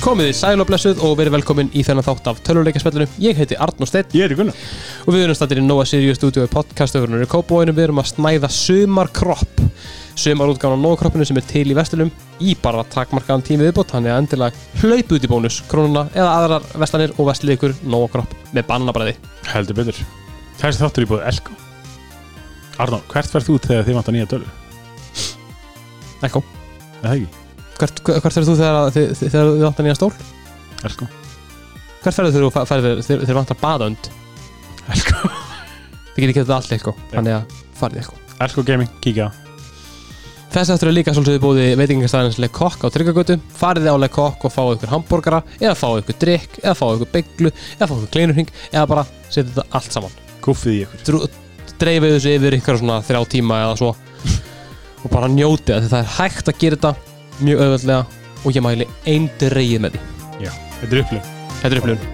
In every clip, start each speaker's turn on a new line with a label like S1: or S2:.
S1: Komiði sæl og blessuð og verið velkomin í þennan þátt af töluleikaspellunum Ég heiti Arnó Steinn
S2: Ég er í Gunnar
S1: og við erum stættir í Nova Sirius Studio í podcastöfurnir í Kópavóinu Við erum að snæða sumarkropp Sumarútgána á nógkroppinu sem er til í vestlunum í bara takmarkaðan tími viðbót Þannig að endilega hlaup út í bónus, krónuna eða aðrar vestlanir og vestlið ykkur nógkropp með bannabræði
S2: Heldur betur Þessi þáttur í búið Elko Arnó, hvert verð þú þegar þið vantar nýja tölvu?
S1: Ekko,
S2: Er það ekki?
S1: hvert, hvert ferður þú þegar, þegar, þegar þú vantar nýja stól?
S2: Elko
S1: Hvert ferður þú þegar þú ferður þegar þegar vantar baðönd?
S2: Elko
S1: Þið getur getið allt eitthvað, þannig að farið eitthvað
S2: Elko Gaming, kíkja á.
S1: Þessi aftur er líka svolítið búið í veitingastæðins Lekokk á Tryggagötu. Farið á Lekokk og fáið ykkur hambúrgara, eða fáið ykkur drikk, eða fáið ykkur bygglu, eða fáið ykkur kleinurhing, eða bara setið þetta allt saman.
S2: Guffið í ykkur
S1: Drú- Dreifið þessu yfir ykkur svona þrjá tíma eða svo og bara njótið að það er hægt að gera þetta mjög auðveldlega og ég mæli einn dreigið með því.
S2: Þetta er upplif
S1: Þetta er upplifun.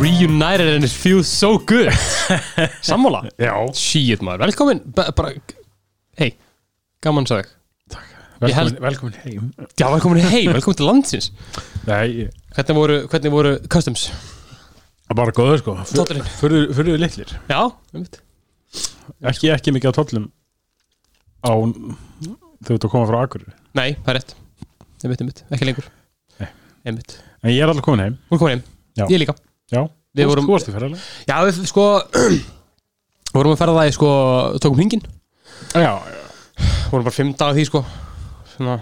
S1: Reunited and it feels so good Sammála
S2: Já
S1: Shit maður, velkomin Ba- bara, Hei, gaman sagði Ég held-
S2: Velkomin, velkomin heim
S1: Já, velkomin heim, velkomin til landsins
S2: Nei, ég-
S1: Hvernig voru, hvernig voru customs?
S2: það er bara góður sko
S1: Tóllurinn.
S2: Fyrir við litlir
S1: Já, einmitt.
S2: Ekki, ekki mikið á tollum Á Þau ert að koma frá Akureyri
S1: Nei, það er rétt Einmitt, einmitt, ekki lengur
S2: Nei.
S1: Einmitt
S2: En ég er alveg komin heim
S1: Hún kom heim,
S2: Já.
S1: ég líka
S2: Já
S1: Við
S2: Þú-
S1: vorum-
S2: Þú varst í ferðalega
S1: Já, við sko Vorum að ferða það í sko Tókum hringin
S2: Já, já.
S1: vorum bara fimm dagar því sko svona,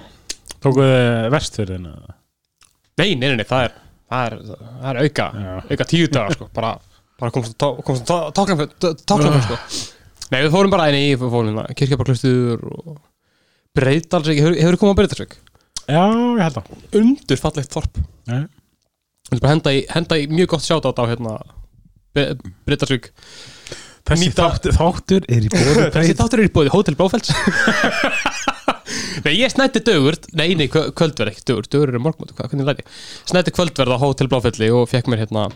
S2: tókuð þið vest fyrir
S1: nei, nei, nei, nei, það er það er, það er auka,
S2: Já.
S1: auka tíu dagar sko bara, bara komst á tóknafjörn sko nei, við fórum bara einni í fórum kirkjabarklustur og breytalsvík, hefur, hefur komið á breytalsvík
S2: Já, ég held það
S1: undur fallegt þorp
S2: Já.
S1: Við bara henda í, henda í mjög gott sjátátt á hérna breytalsvík
S2: Þessi
S1: Nýta-
S2: þáttur, þáttur er í bóði
S1: þessi þáttur er í bóði Hotel Bláfells Nei, ég snætti dögur Nei, nei, kvö- kvöldverð ekki dögur Dögur eru morgmóti, hvað, hvernig læti Snætti kvöldverð á Hotel Bláfelli og fekk mér hérna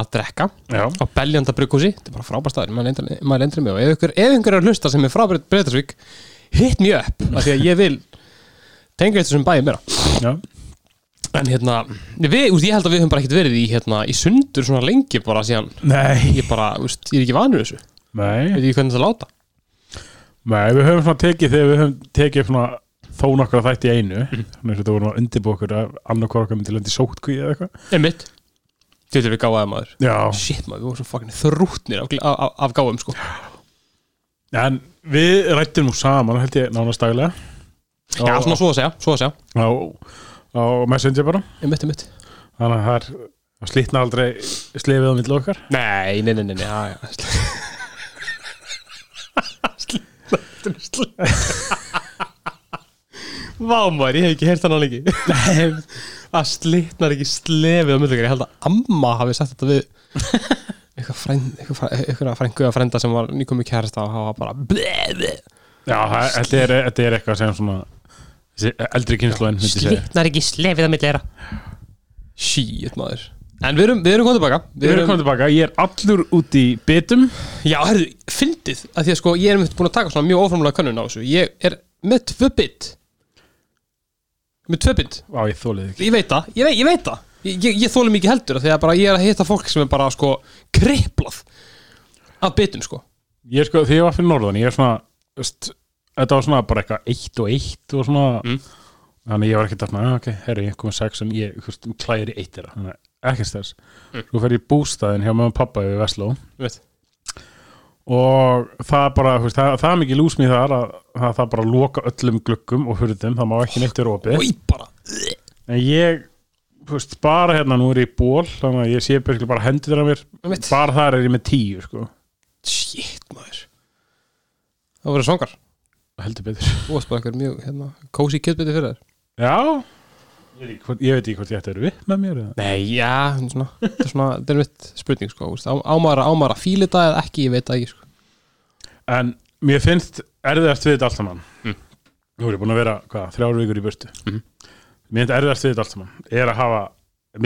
S1: að drekka
S2: Já,
S1: á Beljanda brugghúsi Þetta er bara frábær staður, maður leyndar- maður lendur mig og ef ykkur, ef ykkur er að hlusta sem er frá Breitasvík hitt mér upp, af því að ég vil tengja þetta sem bæði mér
S2: já,
S1: En hérna, við, úst, ég held að við höfum bara ekkert verið í, hérna, í sundur svona lengi bara síðan
S2: nei
S1: Ég bara, úst, ég er ekki vanur þessu Veit
S2: Nei,
S1: ekki hvernig það láta
S2: nei við höfum svona tekið þegar við höfum tekið upp svona þó nokkra þætti í einu Svona eins og þetta vorum að undirbúa okkur að annarkvar okkar myndi lendi sótkví eða eitthvað
S1: Einmitt Þetta er við gáðaði maður
S2: Já,
S1: Shit maður, við vorum svo fucking þrútnir af, af, af gáðum sko
S2: en við rættum nú saman held ég nánast daglega
S1: Já, svona svo að segja, svo að segja
S2: á, á Messenger bara
S1: Einmitt, einmitt
S2: Þannig að það er það slitna aldrei slefið á milli okkar
S1: Nei, nei, nei, nei, nei, já, já Vá maður, ég hef ekki heyrt hann alveg Nei Það slitnar ekki slefið á myndleikar Ég held að amma hafi sagt þetta við Eitthvað frænd, eitthvað frænd, eitthvað frængu að frænda sem var nýkomi kærasta og hafa bara bleði
S2: Já, það, þetta, er, þetta er eitthvað sem svona þessi eldri kynnslóðin myndi segja
S1: Slitnar ekki slefið að millera Shit maður En við erum, við erum komið tilbaka
S2: Við erum komið tilbaka, ég er allur út í bitum
S1: Já, herðu, fyndið að Því að sko, ég er mitt búin að taka svona mjög óformulega könnun á þessu Ég er með tvö bit Með tvö bit
S2: Á, ég þólið ekki
S1: Ég veit það, ég veit, ég veit það Ég, ég, ég þóli mikið heldur af því að bara ég er að hitta fólk sem er bara sko kriplað af bitum sko
S2: Ég er sko, þegar ég var fyrir norðan, ég er svona veist, Þetta var svona bara eitthvað eitt og eitt og svona
S1: Mm.
S2: Þannig ég var ekkert að svona, "Ah, ok, herri, ég komið sex sem ég hvist, klæri eitt þeirra Þannig að ekkert þess
S1: Mm.
S2: Svo fer ég í bústæðin hjá mömmu og pappa yfir Vesló
S1: Ég veit
S2: Og það er bara, hvist, það, það er mikið lúsmið þar að, að það bara loka öllum gluggum og hurðum Það má ekki neitt vera opið
S1: Í bara
S2: En ég, hvist, bara hérna nú er ég í ból Þannig að ég sé byrkli bara hendur þeirra mér
S1: Einmitt.
S2: Bara þar er ég með tíu, sko
S1: Shit maður Það voru songar
S2: Heldur betur
S1: Þú varst bara eitthvað mjög hérna Cozy kjötbiti fyrir þér
S2: Já Ég veit ekki hvort- ég veit ekki hvort ég ætti að vera upp með mér eða
S1: Nei, já, þetta er svona, þetta er svona, þetta er mitt spurning sko, þú veist, á- á maður að- á maður að fíla þetta eða ekki, ég veit það ekki sko.
S2: En mér finnst erfiðast við þetta allt saman Nú er ég búin að vera, hvað, þrjár Mm-hmm. vikur í burtu Mér finnst erfiðast við þetta allt saman Er að hafa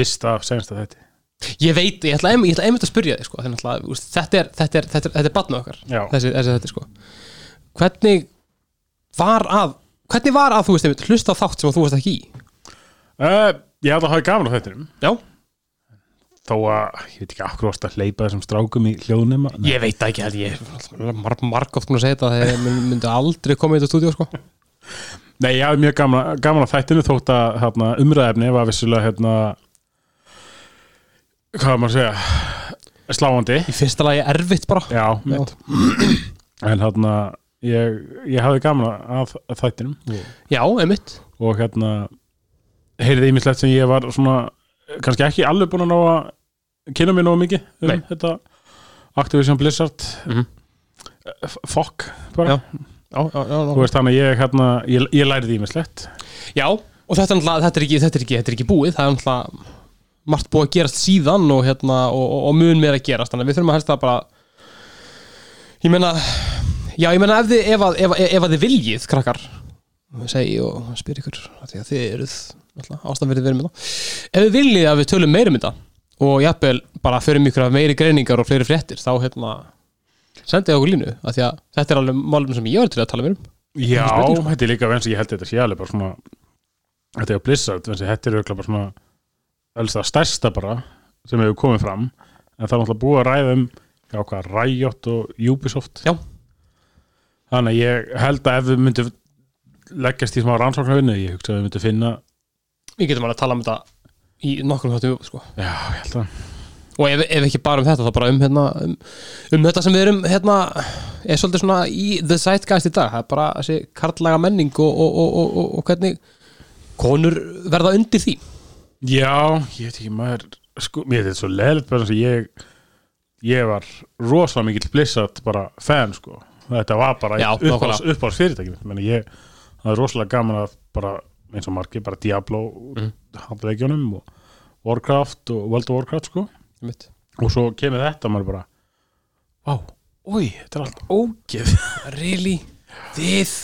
S2: mista af senasta þetta
S1: Ég veit, ég ætla, einmitt- ég ætla einmitt að spyrja þig sko, þannig að náttúrulega, úst, þetta er, þetta er, þetta er, þetta er batna okkar,
S2: Já.
S1: þessi, þessi þetta sko. Hvernig var að, hvernig var að þú veist einmitt hlusta á þátt sem að þú veist ekki í?
S2: Uh, ég held að hafa gaman á þettinum
S1: Já.
S2: þó að, ég veit ekki akkur ást að hleypa þessum strákum í hljóðnema
S1: Ég veit það ekki að ég er mar, margótt búin að segja þetta þegar ég mun- myndi aldrei koma í þetta stúdíu sko.
S2: Nei, ég hafði mjög gaman, gaman að þættinu þótt að hérna, umræðefni var vissulega hérna, hvað á maður að segja sláandi
S1: Í fyrsta lagi erfitt bara.
S2: Já, mitt En hérna, ég, ég hafði gaman að, að þættinum
S1: Já, einmitt.
S2: og hérna heyrði ímislegt sem ég var svona kannski ekki alveg búin að ná að kynna mér nógu mikið um
S1: Nei.
S2: þetta Activision Blizzard
S1: Mhm.
S2: F- Fokk bara
S1: Já. Já, já, já,
S2: Þú veist þannig að ég, hérna, ég, ég læriði ímislegt
S1: Já, og þetta, er náttúrulega- þetta, er ekki, þetta, er ekki, þetta er ekki búið Það er náttúrulega margt búið að gerast síðan og, hérna, og, og, og mun meira að gerast Þannig að við þurfum að helst það bara Ég meina Já, ég meina ef þið, ef, að- ef, ef, ef að þið viljið, krakkar segi ég og spyr ykkur af Því að þið eruð ástafverðið verið með það Ef þið viljið að við tölum meira um þetta Og jafnvel bara förum ykkur af meiri greiningar og fleiri fréttir Þá hérna sendið okkur línu af Því að þetta er alveg málum sem ég var til að tala mér um
S2: Já,
S1: Ekki spurning, sko.
S2: þetta er líka vegna sem ég held þetta sé alveg bara svona Þetta er á Blizzard, vegna sem þetta er auðvitað bara svona elsta stærsta bara sem hefur komið fram en það er náttúrulega búið að ræða um já, hvað, Riot og Ubisoft
S1: Já.
S2: Þannig að ég held að ef við myndum leggjast í smá rannsóknarvinni ég hugsa að við myndum finna
S1: Við getum alveg að tala um þetta í nokkrum þáttum sko.
S2: Já, ég held að
S1: og ef, ef ekki bara um þetta þá bara um, hérna, um, um þetta sem við erum hérna, er svolítið svona í the zeitgeist í dag það er bara þessi karlaga menning og, og, og, og, og, og hvernig konur verða undir því
S2: Já, ég veit ekki maður sko, mér þetta er svo leðilegt bara sem ég ég var rosalega mikill Blizzard bara fan sko þetta var bara
S1: Já,
S2: uppáls,
S1: nákvæmlega.
S2: uppáls fyrirtæki mitt Meni, ég, það er rosalega gaman að bara eins og margir, bara Diablo mm. handleikjunum og Warcraft og World of Warcraft sko
S1: Einmitt.
S2: og svo kemur þetta maður bara Vá, oi, þetta er allt ógeð
S1: really? þið?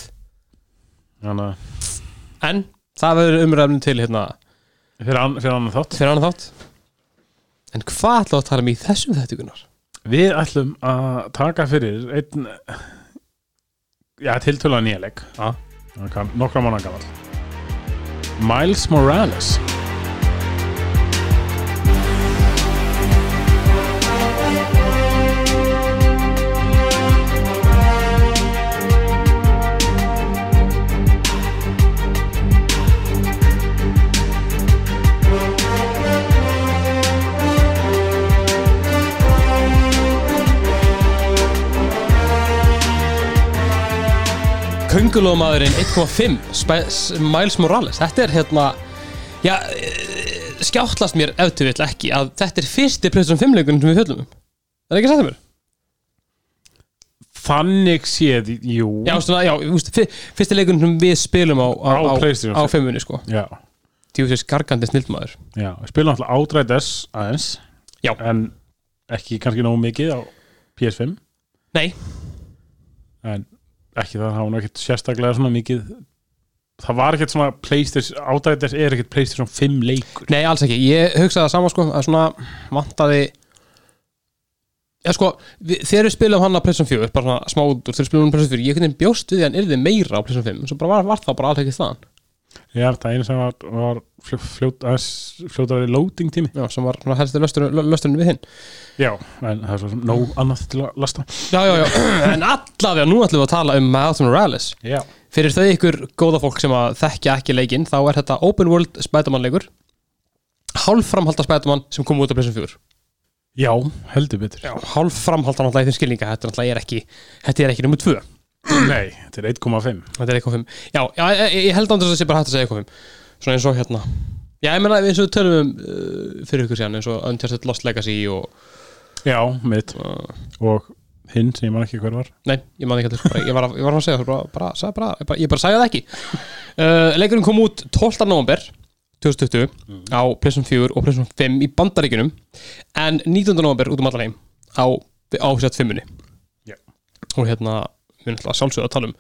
S2: þannig að
S1: en það verður umræðum til hérna,
S2: fyrir, an, fyrir annan þátt
S1: fyrir annan þátt en hvað ætlaðu að tala um í þessum þetta Gunnar?
S2: Við ætlum að taka fyrir einn já, tiltöla nýjaleg
S1: Já.
S2: nokkra mánan gammal Miles Morales
S1: Köngulómaðurinn 1.5 Sp- S- Miles Morales Þetta er hérna Já, eh, skjáttlast mér ef til vill ekki að þetta er fyrsti Playstation 5 leikunum sem við fjöllum um Það er ekki sættum mér?
S2: Þannig séð, jú
S1: Já, svona, já, úst, fyrsti leikunum sem við spilum á Á,
S2: Á PlayStation
S1: á
S2: 5.
S1: 5-unni, sko
S2: já,
S1: Tjóðsins gargandi snildmaður
S2: já. Spilum alltaf átræðis aðeins
S1: Já.
S2: En ekki kannski nógu mikið á PS5
S1: Nei,
S2: En ekki það, það var nú ekkert sérstaklega svona mikið Það var ekkert svona Playstation, átræðis er ekkert Playstation 5 leikur
S1: nei, alls ekki Ég hugsaði það sama, sko, að svona vantaði Já, sko, við, þegar við spilum hann á Playstation 4 bara svona smá út úr, þegar við spilum hann á Playstation 4 ég hvernig bjóst við því að hann yrði meira á Playstation 5 svo bara var, var það bara alls ekki þaðan
S2: Já, það einu sem var, var fljó, fljót, aðeins fljótari loading tími
S1: Já, sem var svona helstu lösturinn, lö- lösturinn við hinn
S2: Já, en það er svo sem nóg annað til að lasta
S1: Já, já, já, en allavega nú ætlum við að tala um Miles Morales
S2: Já,
S1: Fyrir þau ykkur góða fólk sem að þekkja ekki leikinn þá er þetta open world Spiderman leikur Hálfframhalda Spiderman sem kom út á Playstation 4
S2: heldur betur
S1: Já, hálfframhalda náttúrulega í þeim skilninga Þetta náttúrulega er ekki, þetta er ekki nummer 2
S2: Nei, þetta er 1,5
S1: Þetta er eitthvað 5 Já, já ég, ég held andrið að það sé bara hægt að segja eitthvað 5 Svona eins og hérna Já, ég meina eins og við tölum um uh, fyrir ykkur síðan eins og Uncharted Lost Legacy og uh,
S2: Já, mitt Og hinn sem ég man ekki hver var
S1: Nei, ég man ekki heldur, bara, ég, var að, ég var að segja það bara, bara, sagði bara, ég bara, ég bara sagði það ekki uh, Leikurinn kom út 12. november 2020 á Playstation 4 og Playstation 5 í bandaríkunum en 19. november út um allar heim á, á sett 5-unni
S2: Já.
S1: og hérna við erum alltaf sjálfsögðu að tala um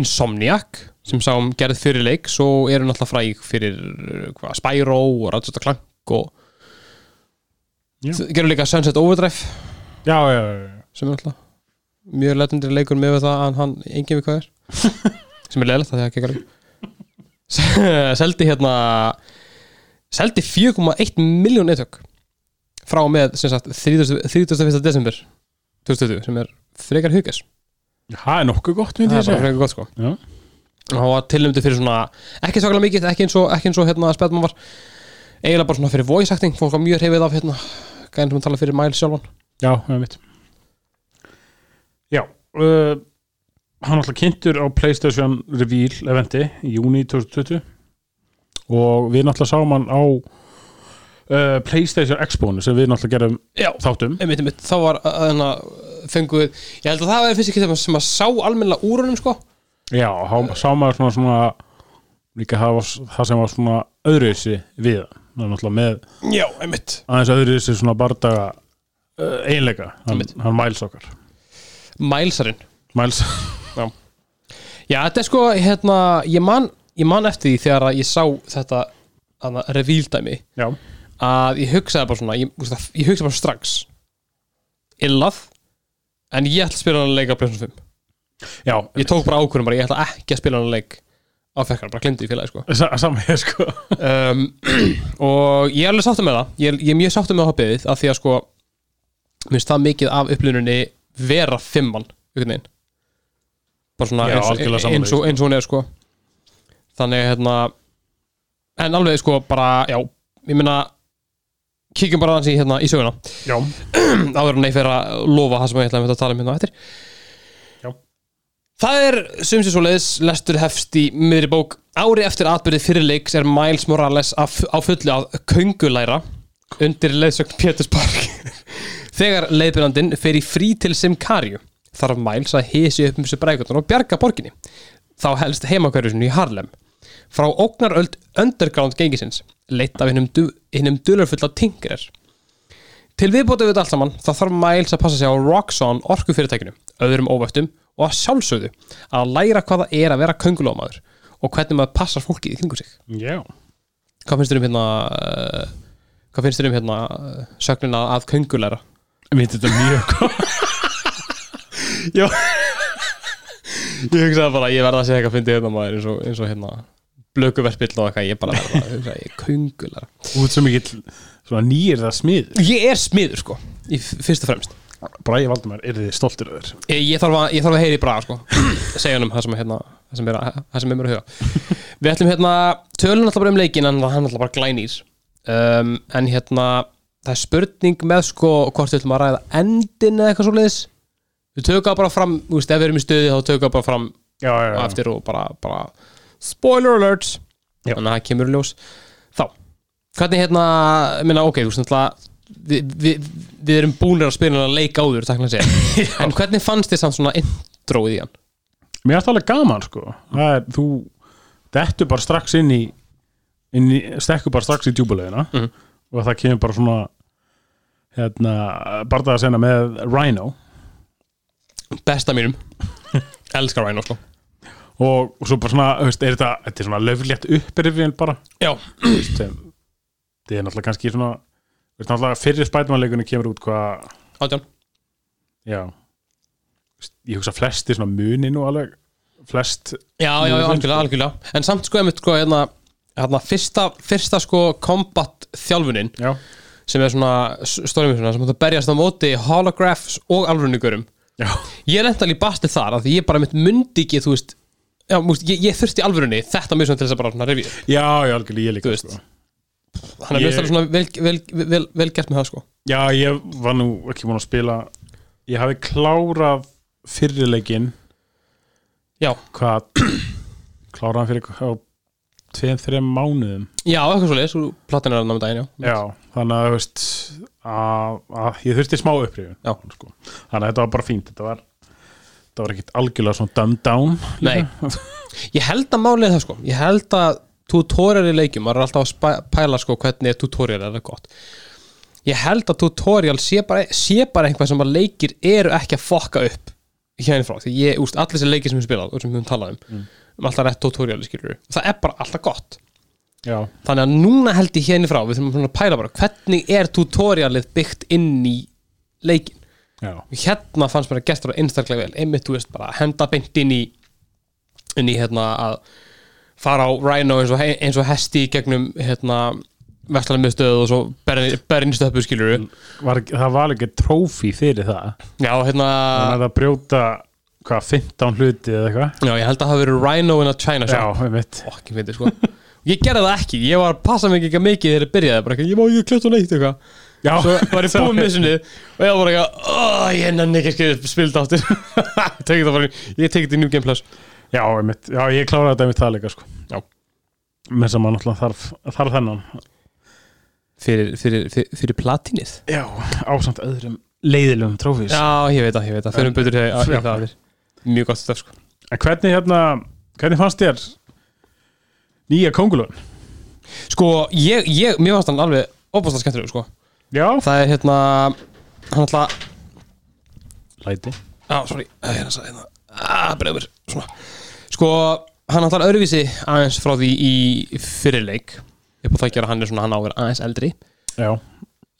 S1: Insomniac sem sáum gerð fyrir leik svo erum alltaf fræg fyrir uh, hvað, Spyro og Ratchet Clank og
S2: Já.
S1: Þau gerðu líka Sunset Overdrive
S2: já, já, já, já.
S1: sem er alltaf mjög letundir leikur með það að hann engin við hvað er sem er leðilegt að það kekar seldi hérna seldi 4,1 miljón eintök frá og með sem sagt 30. 31. desember 2020 sem er frekar hugis
S2: það er nokkuð gott myndi
S1: það er bara
S2: ég segja
S1: frekar gott sko
S2: Já.
S1: og hann var tilnæmdi fyrir svona ekki svakalega mikið, ekki eins og, ekki eins og hérna spæðmann var eiginlega bara svona fyrir voice acting fólk var mjög hreyfið af hérna gæðin sem tala fyrir Miles sjálfan
S2: já, það er mitt já uh, hann alltaf kynntur á Playstation Reveal eventi í júni 2020 og við náttúrulega sáum hann á uh, Playstation Expo-nu sem við náttúrulega gerum
S1: já,
S2: þáttum
S1: einmitt, einmitt, þá var þannig að fengu við, ég held að það var fyrst ekki sem, sem að sá almennilega úr honum sko
S2: Já, há- sá maður svona, svona líka það, var, s- það sem var svona öðruvísi við það. það er náttúrulega með
S1: já, einmitt
S2: aðeins öðruvísi svona bardaga uh, einleika, hann,
S1: Einmitt.
S2: hann mæls okkar
S1: Mælsarinn,
S2: mæls,
S1: já, þetta er sko hérna, ég man, ég man eftir því þegar að ég sá þetta hana, revíldæmi
S2: já,
S1: að ég hugsaði bara svona, ég, þú veist það, ég hugsaði bara strax illað en ég ætla að spila hann að leika á Playstation 5
S2: já
S1: ég tók bara ákvörðum bara, ég ætla ekki að spila hann að leik á fekkar, bara glemdi í félagi sko
S2: sa- saman ég sko
S1: um, og ég er alveg sáttum með það ég er, ég er mjög sáttum með hoppiðið af því að sko minnst það mikið af upplifuninni vera fimmann einhvern veginn bara svona
S2: Já,
S1: eins,
S2: algjörlega
S1: eins,
S2: sammála
S1: eins, og, eins og hún er sko þannig hérna en alveg sko bara já ég meina kíkjum bara aðeins í hérna í söguna
S2: já,
S1: áður en ég fer að lofa það sem ég ætla að mynda að tala um hérna á eftir
S2: Já.
S1: Það er sem sé svo leiðis lestur hefst í miðri bók ári eftir atbyrði fyrirleiks er Miles Morales af, á fullu að köngulæra undir leiðsögn Péturspark þegar leiðbyrjandinn fer í frí til Simkarju þarf Miles að hisi upp um sér brækutun og bjarga borginni þá helst heimakverjusinu í Harlem frá ógnaröld underground gengisins leitt af hinnum, du, hinnum dularfulla tingrir Til viðbótið við þetta allt saman þá þarf Miles að passa sig á Roxxon orkufyrirtækinu, öðrum óvættum og að sjálfsögðu að læra hvað það er að vera köngulómaður og hvernig maður passar fólkið í kringu sig.
S2: já
S1: Hvað finnst þér um hérna uh, hvað finnst þér um hérna uh, sögnina að köngulæra?
S2: mér finnst þetta mjög gott
S1: Ég hugsaði bara, ég verða að segja eitthvað að fyndi hérna maður eins og, eins og hérna blökuverspill og eitthvað, ég bara verða að hugsa ég köngulæra.
S2: út sem ekki svona nýir það smið
S1: Ég er smiður sko, í f- fyrst og fremst.
S2: Bræði Valdimar, er þið stoltir af þér
S1: Ég, ég, þarf að, ég þarf að heyri braga sko segja hann um það sem, er hérna, það sem, er, það sem er mér að huga Við ætlum hérna, tölum alltaf bara um leikin en hann er alltaf bara glænýr um, en hérna, það er spurning með sko hvort við ætlum að ræða endin eða eitthvað svoleiðis Við tökum það bara fram, þú veist, ef við erum í stuði þá tökum það bara fram
S2: já, já,
S1: á
S2: já,
S1: eftir og bara, bara spoiler alert
S2: Já.
S1: þannig að það kemur í ljós þá, hvernig hérna minna, ok, þú veist náttúrulega við, við, við erum búinir að spila hann að leika áður takk að segja, en hvernig fannst þið samt svona introið í hann?
S2: mér er þetta alveg gaman sko það er, þú dettur bara strax inn í, inn í stekkur bara strax í djúbulegina
S1: Mhm.
S2: og það kemur bara svona hérna, barðaða sena með Rhino
S1: besta mínum, elskar Rhino sko.
S2: og, og svo bara svona, þú veist, er þetta þetta er svona löflétt upprifin bara
S1: já,
S2: þú veist, sem, það er náttúrulega kannski svona þú veist, náttúrulega fyrir spætumannleikunni kemur út hvað,
S1: átján
S2: já þú veist, ég hugsa flesti svona muni nú alveg flest,
S1: já, já, já, algjörlega, algjörlega en samt sko, einmitt sko, hérna, hérna fyrsta, fyrsta sko combat þjálfunin
S2: já,
S1: sem er svona stórmjössuna sem þetta berjast á móti holographs og alvörunugurum
S2: já,
S1: ég lenti alveg í basti þar af því ég bara mitt mundi ekki þú veist, já, múst, ég, ég þurfti í alvörunni þetta mjög svona til þess að bara svona review
S2: já, já,
S1: Þú
S2: algjörlega ég líka
S1: veist.
S2: sko.
S1: þannig að
S2: Ég-
S1: mjög stæðlega svona vel, vel, vel, vel, vel gert með það sko
S2: Já, ég var nú ekki búin að spila Ég hafi klárað fyrirleikin
S1: já,
S2: Hvað Klárað hann fyrir hvað Tveim, þreim mánuðum
S1: já, eitthvað svo leis platin er að náma daginn, já,
S2: Já, þannig að, þú veist, að, að Ég þurfti smá upprifun
S1: Já.
S2: sko. Þannig að þetta var bara fínt Þetta var, þetta var ekkit algjörlega svona dumbed down
S1: Nei. ég held að málið er það sko ég held að tutorial í leikjum maður er alltaf að spæ- pæla sko hvernig tutorial er það gott ég held að tutorial sé bara, sé bara einhvað sem að leikir eru ekki að fokka upp hérna frá, því ég, úst, allir þessi leikir sem við spilað og sem við höfum talað um, um alltaf rétt tutorial skilur það er bara alltaf gott
S2: já,
S1: Þannig að núna held ég hérna frá, við þurfum svona að pæla bara hvernig er tutorialið byggt inn í leikin.
S2: já,
S1: Hérna fannst mér að gert það einstaklega vel, einmitt, þú veist, bara að henda beint inn í, inn í hérna að fara á Rhino eins og, he- eins og hesti í gegnum hérna vestlarmiðstöðu og svo bernistöppu skilur við.
S2: var, ekki- það var ekki trófi fyrir það,
S1: Já, hérna,
S2: þannig að það brjóta hvað, 15 hluti eða eitthvað
S1: já, ég held að það hafi verið Rhino in a China shop.
S2: já, einmitt,
S1: fokkin fyndi sko ég gerði það ekki, ég var að passa mig ekki mikið þegar ég byrjaði, bara ekki, ég má ekki klætt og neitt eitthvað
S2: já,
S1: svo var ég búið með sinni og ég var bara eitthvað, "Åh, ég nenni ekki að spilda áttir tekið það bara, ég tekið þetta í New Game Plus
S2: já, einmitt já, ég kláraði þetta einmitt það líka, sko
S1: Já.
S2: með sem maður náttúrulega þarf, þarf þennan
S1: fyrir, fyrir, fyrir, fyrir platinið
S2: já, ásamt öðrum leiðilegum trófís
S1: já, ég veit það, ég veit það, fyrir um betur þegar
S2: Já.
S1: ég það er mjög gott stöf sko
S2: En hvernig hérna, hvernig fannst þér nýja kongulun?
S1: sko, ég, ég, mér fannst hann alveg opastar skemmtilegur sko,
S2: Já.
S1: það er hérna hann alltaf
S2: Læti.
S1: Já, sorry, Æ, hérna sagði hérna ah, Bregður, svona Sko, hann ætlar öðruvísi aðeins frá því í fyrirleik upp á það að gera hann er svona hann á að vera aðeins eldri
S2: Já.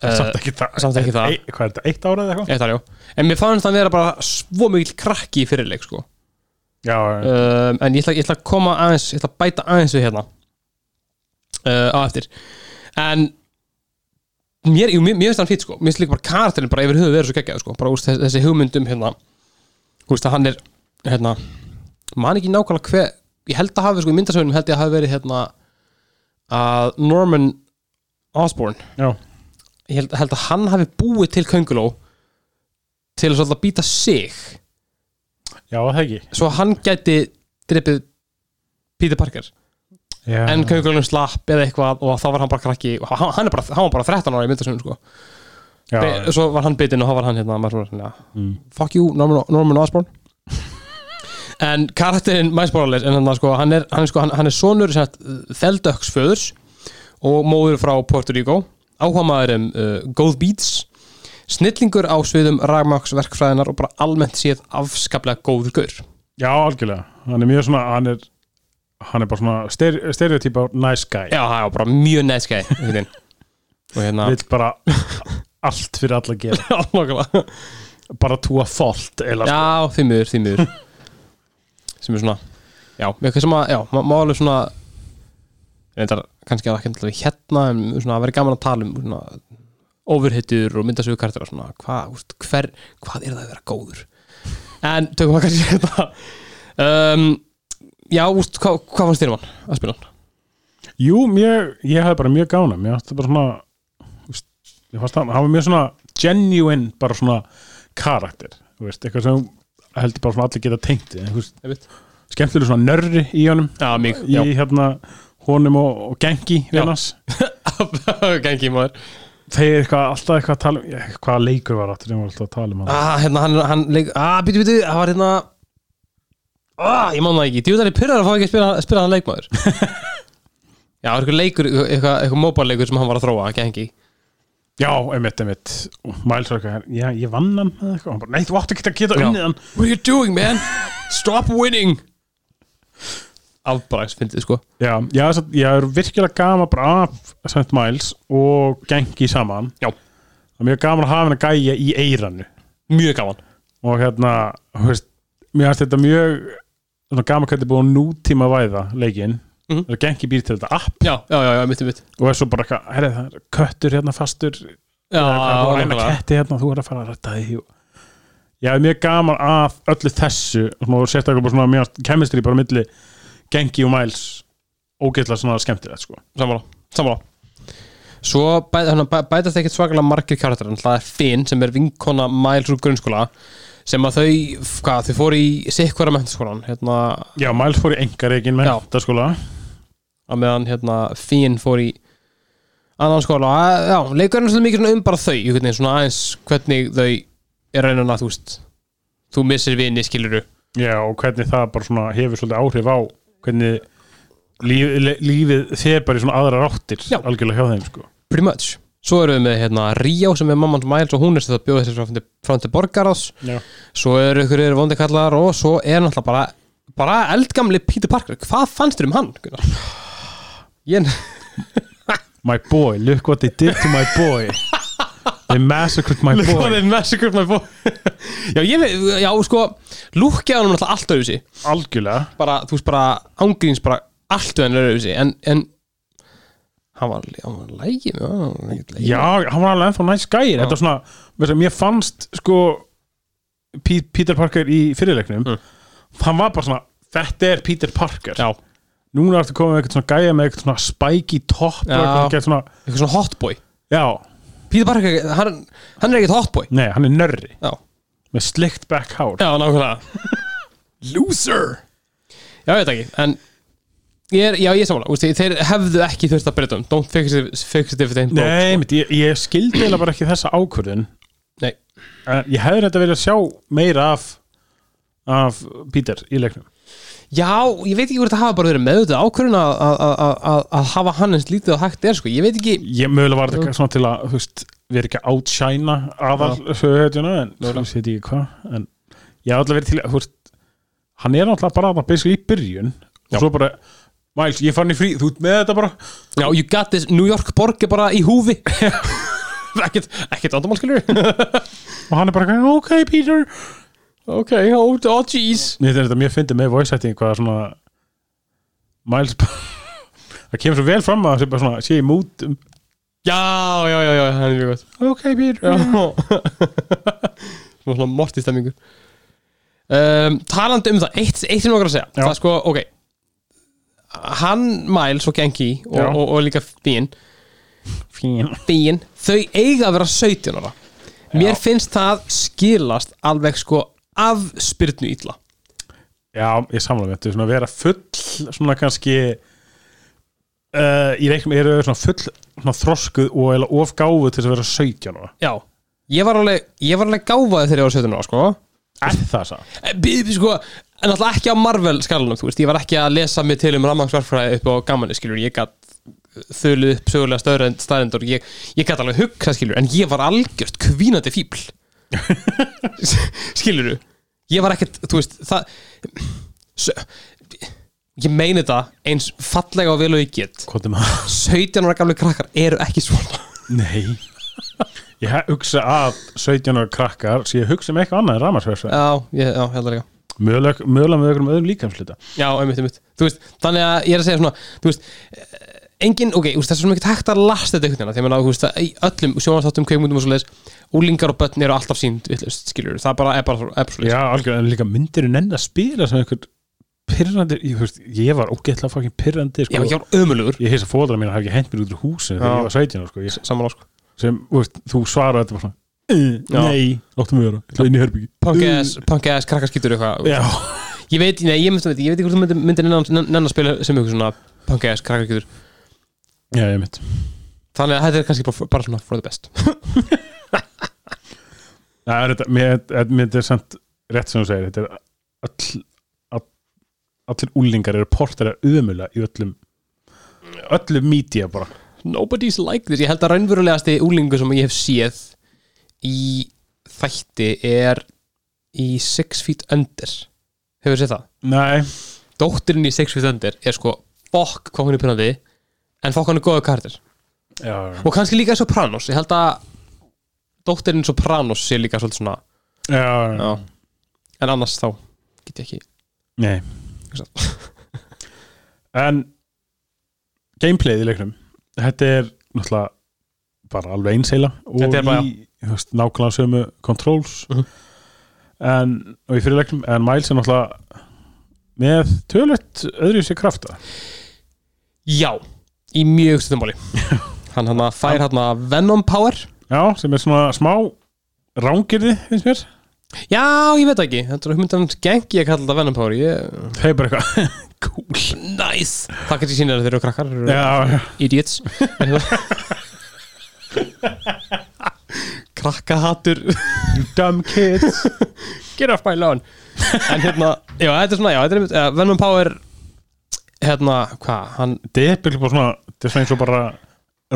S1: Eh,
S2: samt ekki það.
S1: samt ekki það.
S2: E, hvað er þetta, eitt ára eða eitthvað?
S1: Eitt þar, já. En mér fannst hann vera bara svo mikill krakki í fyrirleik sko.
S2: Já, já,
S1: um, En ég ætla, ég ætla að koma aðeins Ég ætla að bæta aðeins við hérna uh, Á eftir En Mér, jú, mér, mér finnst hann fýtt sko Mér finnst líka bara karakterin bara yfir höfuð verið svo geggjað sko Bara úst, þessi, þessi hugmyndum hérna Þú veist að hann er hérna Man ekki nákvæmlega hver Ég held að hafi sko í myndasögunum held ég að hafi verið hérna Að Norman Osborn
S2: já.
S1: ég held, held að hann hafi búið til könguló til að svolítið býta sig
S2: Já, það ekki.
S1: svo að hann gæti drippið Peter Parker
S2: Já.
S1: en köngulónum slapp eða eitthvað og þá var hann bara krakki og hann, hann, er bara, hann var bara 13 ára í myndasögnum sko.
S2: Já,
S1: Be- svo var hann bitinn og þá var hann hérna maður, svona, ja.
S2: Mm.
S1: fuck you Norman, Norman Osborn en karakterinn Miles Morales en hann, sko, hann, er, hann, er, sko, hann, hann er sonur sem sagt, Þeldöks föðurs og móður frá Puerto Rico áhamaður um uh, Gold Beats snillingur á sviðum ragmaks verkfræðinar og bara almennt séð afskaplega góður gaur
S2: já, algjörlega. Hann er mjög svona, hann er, hann er bara svona stere- stereotypa nice guy.
S1: já, það var bara mjög næskæði og hérna
S2: Vill bara allt fyrir alla að gera.
S1: Já, nákvæmlega.
S2: Bara túa fault, eða sko.
S1: Já, því miður, því miður sem er svona já, eitthvað sem að, já, má, má alveg svona reyndar kannski að það ekki alltaf hérna, en svona að vera gaman að tala um svona overhittur og myndasögukartir og svona, hvað, úst, hver hvað er það að vera góður en tökum að kannski þetta um, já, úst, hva, hvað fannst þér um hann að spila hann?
S2: Jú, mjög, ég hafði bara mjög gána mér fannst það bara svona þú veist, ég fannst það, hann var mjög svona genuine bara svona karakter þú veist, eitthvað sem heldur bara svona allir geta tengt við, þú veist,
S1: Einmitt.
S2: skemmtileg svona nörri í honum
S1: Já, mig,
S2: í hérna honum og, og gengi
S1: Já.
S2: vinnans,
S1: já, gengi maður
S2: þeir eitthvað alltaf eitthvað að tala um, ég- hvaða leikur var aftur sem var alltaf að tala um hann
S1: Ah, hérna, hann, hann leik Ah, býtu, býtu, það var hérna Ah, ég man það ekki Djúðar er pyrrar að fá ekki að spila, spila hann leikmaður Já, það er eitthvað leikur eitthvað, eitthvað móbarleikur sem hann var að þróa, ekki hengi
S2: já, einmitt, einmitt, Og Miles var eitthvað já, ég vann hann eða eitthvað, hann bara, nei, þú átt ekki að geta
S1: Já.
S2: unnið hann
S1: What are you doing, man? Stop winning Afbræks, fyndið, sko
S2: já, já, þess að- ég er virkilega gama bara af St. Miles og gengi saman
S1: Já,
S2: það er mjög gaman að hafa henni gæja í eiranu
S1: mjög gaman
S2: og hérna, þú veist mér finnst þetta mjög svona gaman hvernig er búið að nútíma væða leikinn
S1: Mhm.
S2: það er gengi býr til þetta app
S1: Já, já, já, já mitt, mitt
S2: og er svo bara eitthvað, herri það er köttur hérna fastur
S1: Já,
S2: það er eitthvað, þú er eina
S1: nákvæmlega.
S2: ketti hérna, þú er að fara að rætta því og- já, það er mjög gaman af öllu þessu og svona, og sérstaklega bara svona mjög kemistri bara á milli gengi og mæls ógeðslega svona skemmtilegt sko
S1: sammála, sammála Svo bæ, hérna, bæ, bætast ekkert svakalega margir karakter en það er Finn sem er vinkona Miles úr grunnskóla sem að þau, hvað, þau fóru í sikkvara mentaskólan, hérna
S2: já, mæls fór í engareikin með
S1: Já.
S2: þetta skóla
S1: að meðan hérna Finn fór í annan skóla og að- já, leikurinn er svolítið mikið svona um bara þau einhvern veginn svona aðeins hvernig þau er raunin að þú veist þú missir vini, skiluru
S2: Já, og hvernig það bara svona hefur svolítið áhrif á hvernig líf, le- lífið þeir bara í svona aðra ráttir
S1: Já.
S2: algjörlega hjá þeim sko.
S1: pretty much Svo erum við með hérna Ríó sem er mamman Miles og hún er sem það bjóði sér frá til- frá til borgarás
S2: Já.
S1: svo eru ykkur eru vondi kallar og svo er náttúrulega bara, bara eldgamli Peter Parker hvað fannst þér um hann? Gunnar? Ég,
S2: My boy, look what they did to my boy They massacred my
S1: Look what
S2: boy
S1: they massacred my boy Já, ég veit, já, sko Lúkkið hann alltaf allt öðru sig
S2: Algjörlega
S1: bara, þú veist, bara ángríns bara allt öðru öðru sig en, en hann var, hann var lægi
S2: Já, hann var alveg ennþá næst gæir Þetta var svona, veist, mér fannst sko P Peter Parker í fyrirleiknum
S1: Mm.
S2: Hann var bara svona, þetta er Peter Parker
S1: Já.
S2: Núna ertu komið með eitthvað svona gæja með eitthvað svona spæki topp
S1: Já.
S2: og eitthvað svona,
S1: eitthvað svona hotboy
S2: já,
S1: Peter Parker, hann, hann er ekkert hotboy
S2: nei, hann er nörri
S1: Já,
S2: með slikt back hár
S1: já, nákvæmlega Loser Já, ég veit ekki, en ég er, já, ég er samanlega, úst, þeir hefðu ekki þurft að breyta um Don't fix it, fix it if it ain't broke
S2: Nei, mitt, ég, ég skildi eiginlega bara ekki þessa ákvörðun
S1: Nei.
S2: En ég hefði þetta verið að sjá meira af af Peter í leiknum
S1: Já, ég veit ekki hvort það hafa bara verið meðutið ákvörðun að- að- að að- að hafa hann eins lítið og hægt er sko. Ég veit ekki
S2: Ég mögulega var þetta eitthvað svona til að þú veist, við erum ekki að outshina aðal sögutjuna en þú veit ekki hvað en ég hef alltaf verið til að þú veist, hann er alltaf bara að basic í byrjun
S1: Já.
S2: og svo bara Miles, ég fann í frí, þú ert með þetta bara
S1: Já, you got this, New York borg er bara í húfi Ekkert, ekkert vandamál skilur
S2: og hann er bara, eitthvað, ok Peter
S1: Ok, oh, oh jeez
S2: Mér finnst þetta mjög fyndið með voice acting hvað svona Miles bara- það kemur svo vel fram að það sé bara svona sé í um- mútum
S1: Já, já, já, já, það er mjög gott
S2: ok Peter
S1: Já Svona morti stemmingu um, Talandi um það, eitt, eitt sem ég okkar að segja
S2: Já.
S1: Það er sko, ok Hann, Miles og Genki og,
S2: Já.
S1: og, og, líka Fín
S2: fín
S1: Fín, þau eiga að vera 17 ára Mér finnst það skilast alveg sko af spyrnu ítla
S2: Já, ég samla með þetta, svona vera full svona kannski uh, í reiknum eru þau svona full svona þroskuð og eða ofgáfuð til þess að vera 17 ára.
S1: Já Ég var alveg, ég var alveg gáfaði þegar ég var 17 ára sko
S2: Er það það?
S1: Eh, bí- bí- sko, En alltaf ekki á Marvel skalanum, þú veist Ég var ekki að lesa mig til um rammangsverfræði upp á gamanni, skilur Ég gat þöluð upp sögulega stöðrend staðendur ég, ég gat alveg hugsa, skilur En ég var algjört kvínandi fíbl Skilur Ég var ekkert, þú veist Það Sö- Ég meini þetta eins fallega og vel og ég get
S2: Hvað er maður?
S1: 17 ára gamlu krakkar eru ekki svona
S2: Nei. Ég hef- hugsa að 17 ára krakkar sé ég hugsa um eitthvað annað en ramarsversa.
S1: Já, ég, já, heldur líka
S2: Mögulega mögulega með einhverjum öðrum líkamsluta.
S1: Já, einmitt, einmitt Þú veist, þannig að ég er að segja svona Þú veist, eh, engin, ok, úst, það er svona ekkert hægt að lasta þetta einhvern veginn Þegar maður, þú veist, að í öllum sjónarþáttum, kveikmundum og svo leiðis Úlingar og börn eru alltaf sínd, vitlaust, skilur Það bara er bara, er bara svo leiðis
S2: Já, algjörlega, en líka myndir en enn að spila sem einhver pyrrandi, ég, þú veist, ég var ógeðlega fucking pyrrandi,
S1: Já,
S2: sko.
S1: ég var ömulugur
S2: Ég hef þess að fóðra mín að hafa ekki hent mér út úr húsinu þegar
S1: Já.
S2: ég var 17 ára, sko. Ég,
S1: Saman á sko
S2: sem þú veist, þú svarar þetta bara svona "Eh,
S1: Já.
S2: Nei, láttu mig vera, ég ætla inn í herbyggi
S1: Punk ass, punk ass, krakkarskýtur eitthvað
S2: Mm. Já,
S1: Ég veit, nei, ég myndi, ég veit ekki hvort þú myndir, myndir nennan að spila sem ykkur svona punk ass, krakkarskýtur
S2: já, ég mitt
S1: Þannig að þetta er kannski bara, bara svona for the best
S2: Það er þetta, mér, eh, mér, mér þetta er samt rétt sem þú segir, þetta er all, all, allir úlingar eru portar að umula í öllum öllum mídía bara
S1: Nobody's like this Ég held að raunverulegasti úlingu sem ég hef séð í þætti er í Six Feet Under Hefur séð það?
S2: Nei,
S1: Dóttirinn í Six Feet Under er sko fokk hvað hún er pyrrandi en fokk hann er góðu kardir
S2: já,
S1: og kannski líka Sopranos Ég held að dóttirinn Sopranos sé líka svolítið svona
S2: já, já.
S1: en annars þá get ég ekki
S2: Nei
S1: Hugsa.
S2: En gameplayið í leiknum þetta er náttúrulega bara alveg einsheila og
S1: Þetta er bara-
S2: í þú veist, nákvæmlega sömu controls
S1: Mhm.
S2: en, og í fyrirleiknum en Miles er náttúrulega með tölvett öðru sér krafta
S1: Já, í mjög stöðumáli Hann hann að fær hann að Venom Power
S2: já, sem er svona smá rángirði, finnst mér
S1: Já, ég veit það ekki Þetta er hugmyndan gengi að kalla þetta Venom Power Ég
S2: það er bara eitthvað cool
S1: Nice Það kannski sýnir að þeir eru krakkar þeir eru
S2: já, já,
S1: Idiots Krakkahatur
S2: you dumb kids
S1: Get off my lawn En hérna Já, þetta er svona Já, þetta er einmitt eh, Venom Power Hérna, hvað Hann
S2: þetta er bara svona þetta er svona eins og bara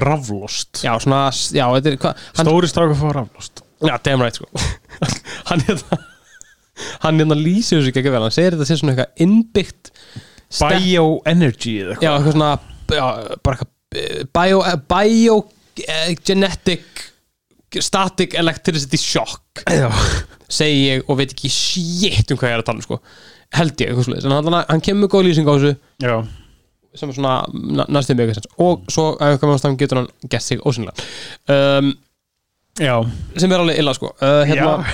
S2: raflost
S1: Já, svona Já, þetta er hvað hann-
S2: stóri strákur fá raflost
S1: Já, damn right sko Hann hérna Hann hérna lýsir þessu ekki vel Hann segir þetta sé svona eitthvað innbyggt step-
S2: bioenergy eða eitthvað
S1: Já, eitthvað svona já, bara eitthvað bio, eh, bio eh, genetic static electricity shock
S2: Já.
S1: segi ég og veit ekki shit um hvað ég er að tala um sko held ég, eitthvað svolítið, en hann, hann kemur með góð lýsing á þessu
S2: Já,
S1: sem er svona næstum mjög sens og svo ef einhver maður stafn getur hann gert sig ósynlega um,
S2: já,
S1: sem er alveg illa sko uh, hérna,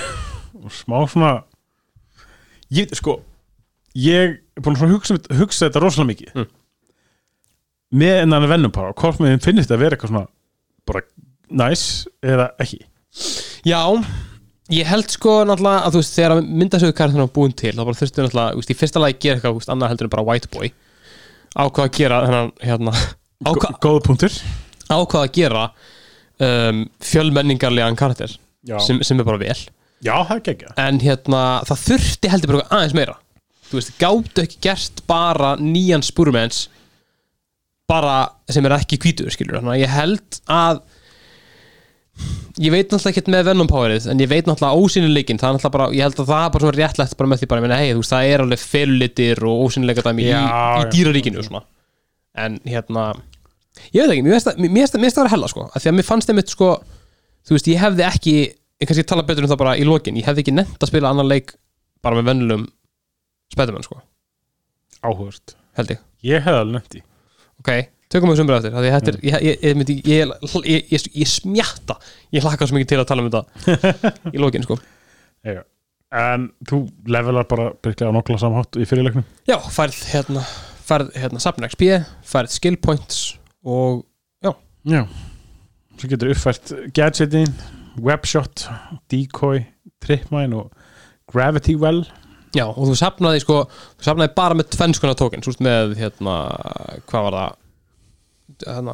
S2: og smá svona ég, sko ég er búin að svona hugsa, hugsa þetta rosalega mikið
S1: Mm.
S2: með ennan vennum bara og hvort mér finnst þetta að vera eitthvað svona bara næs eða ekki
S1: já ég held sko náttúrulega að þú veist þegar myndasögu kartin var búin til þá bara þurftu náttúrulega, þú veist, í fyrsta lagi gera eitthvað þú veist, annað heldur en bara white boy ákvað að gera þennan, hérna ákvað,
S2: Gó- góða punktur
S1: ákvað að gera um, fjölmenningarlegan karakter
S2: já.
S1: sem, sem er bara vel
S2: já, það er gekkja
S1: en hérna, það þurfti heldur bara eitthvað aðeins meira þú veist, gáttu ekki gert bara nýjan spúrumens bara sem er ekki hvítur skilur, þannig að ég held að ég veit náttúrulega ekkert með Venom Powerið, en ég veit náttúrulega ósynileikin það er náttúrulega bara, ég held að það er bara svona réttlegt bara með því bara, ég meina, hei, þú veist, það er alveg felulitir og ósynileika dæmi í,
S2: Já,
S1: í
S2: já.
S1: dýraríkinu og svona. en hérna ég veit ekki, mér finnst það- mér finnst það mér finnst það að vera hella sko, af því að mér fannst einmitt sko þú veist, ég hefði ekki, ég kannski tala betur um það bara í lokin, ég hefði ekki nefnt að spila annan leik bara með vennlum spætumenn sko,
S2: áhugast
S1: held ég,
S2: ég hefði alveg nefnt í
S1: ok, tökum við sömbur eftir af því að þetta er, ég, ég, ég, myndi- ég, ég, ég, ég, ég smjatta, ég hlakka svo mikið til að tala um þetta í lokin sko
S2: já. en þú levelar bara byrklega á nokkla samhátt í fyrirleiknum
S1: já, færð hérna, færð hérna safn XP, færð skill points og
S2: já, svo getur uppfært gadgetin, webshot decoy, tripmine og gravity well
S1: Já, og þú safnaði sko, þú safnaði bara með tvennskona tókinn, svo veist með hérna, hvað var það hérna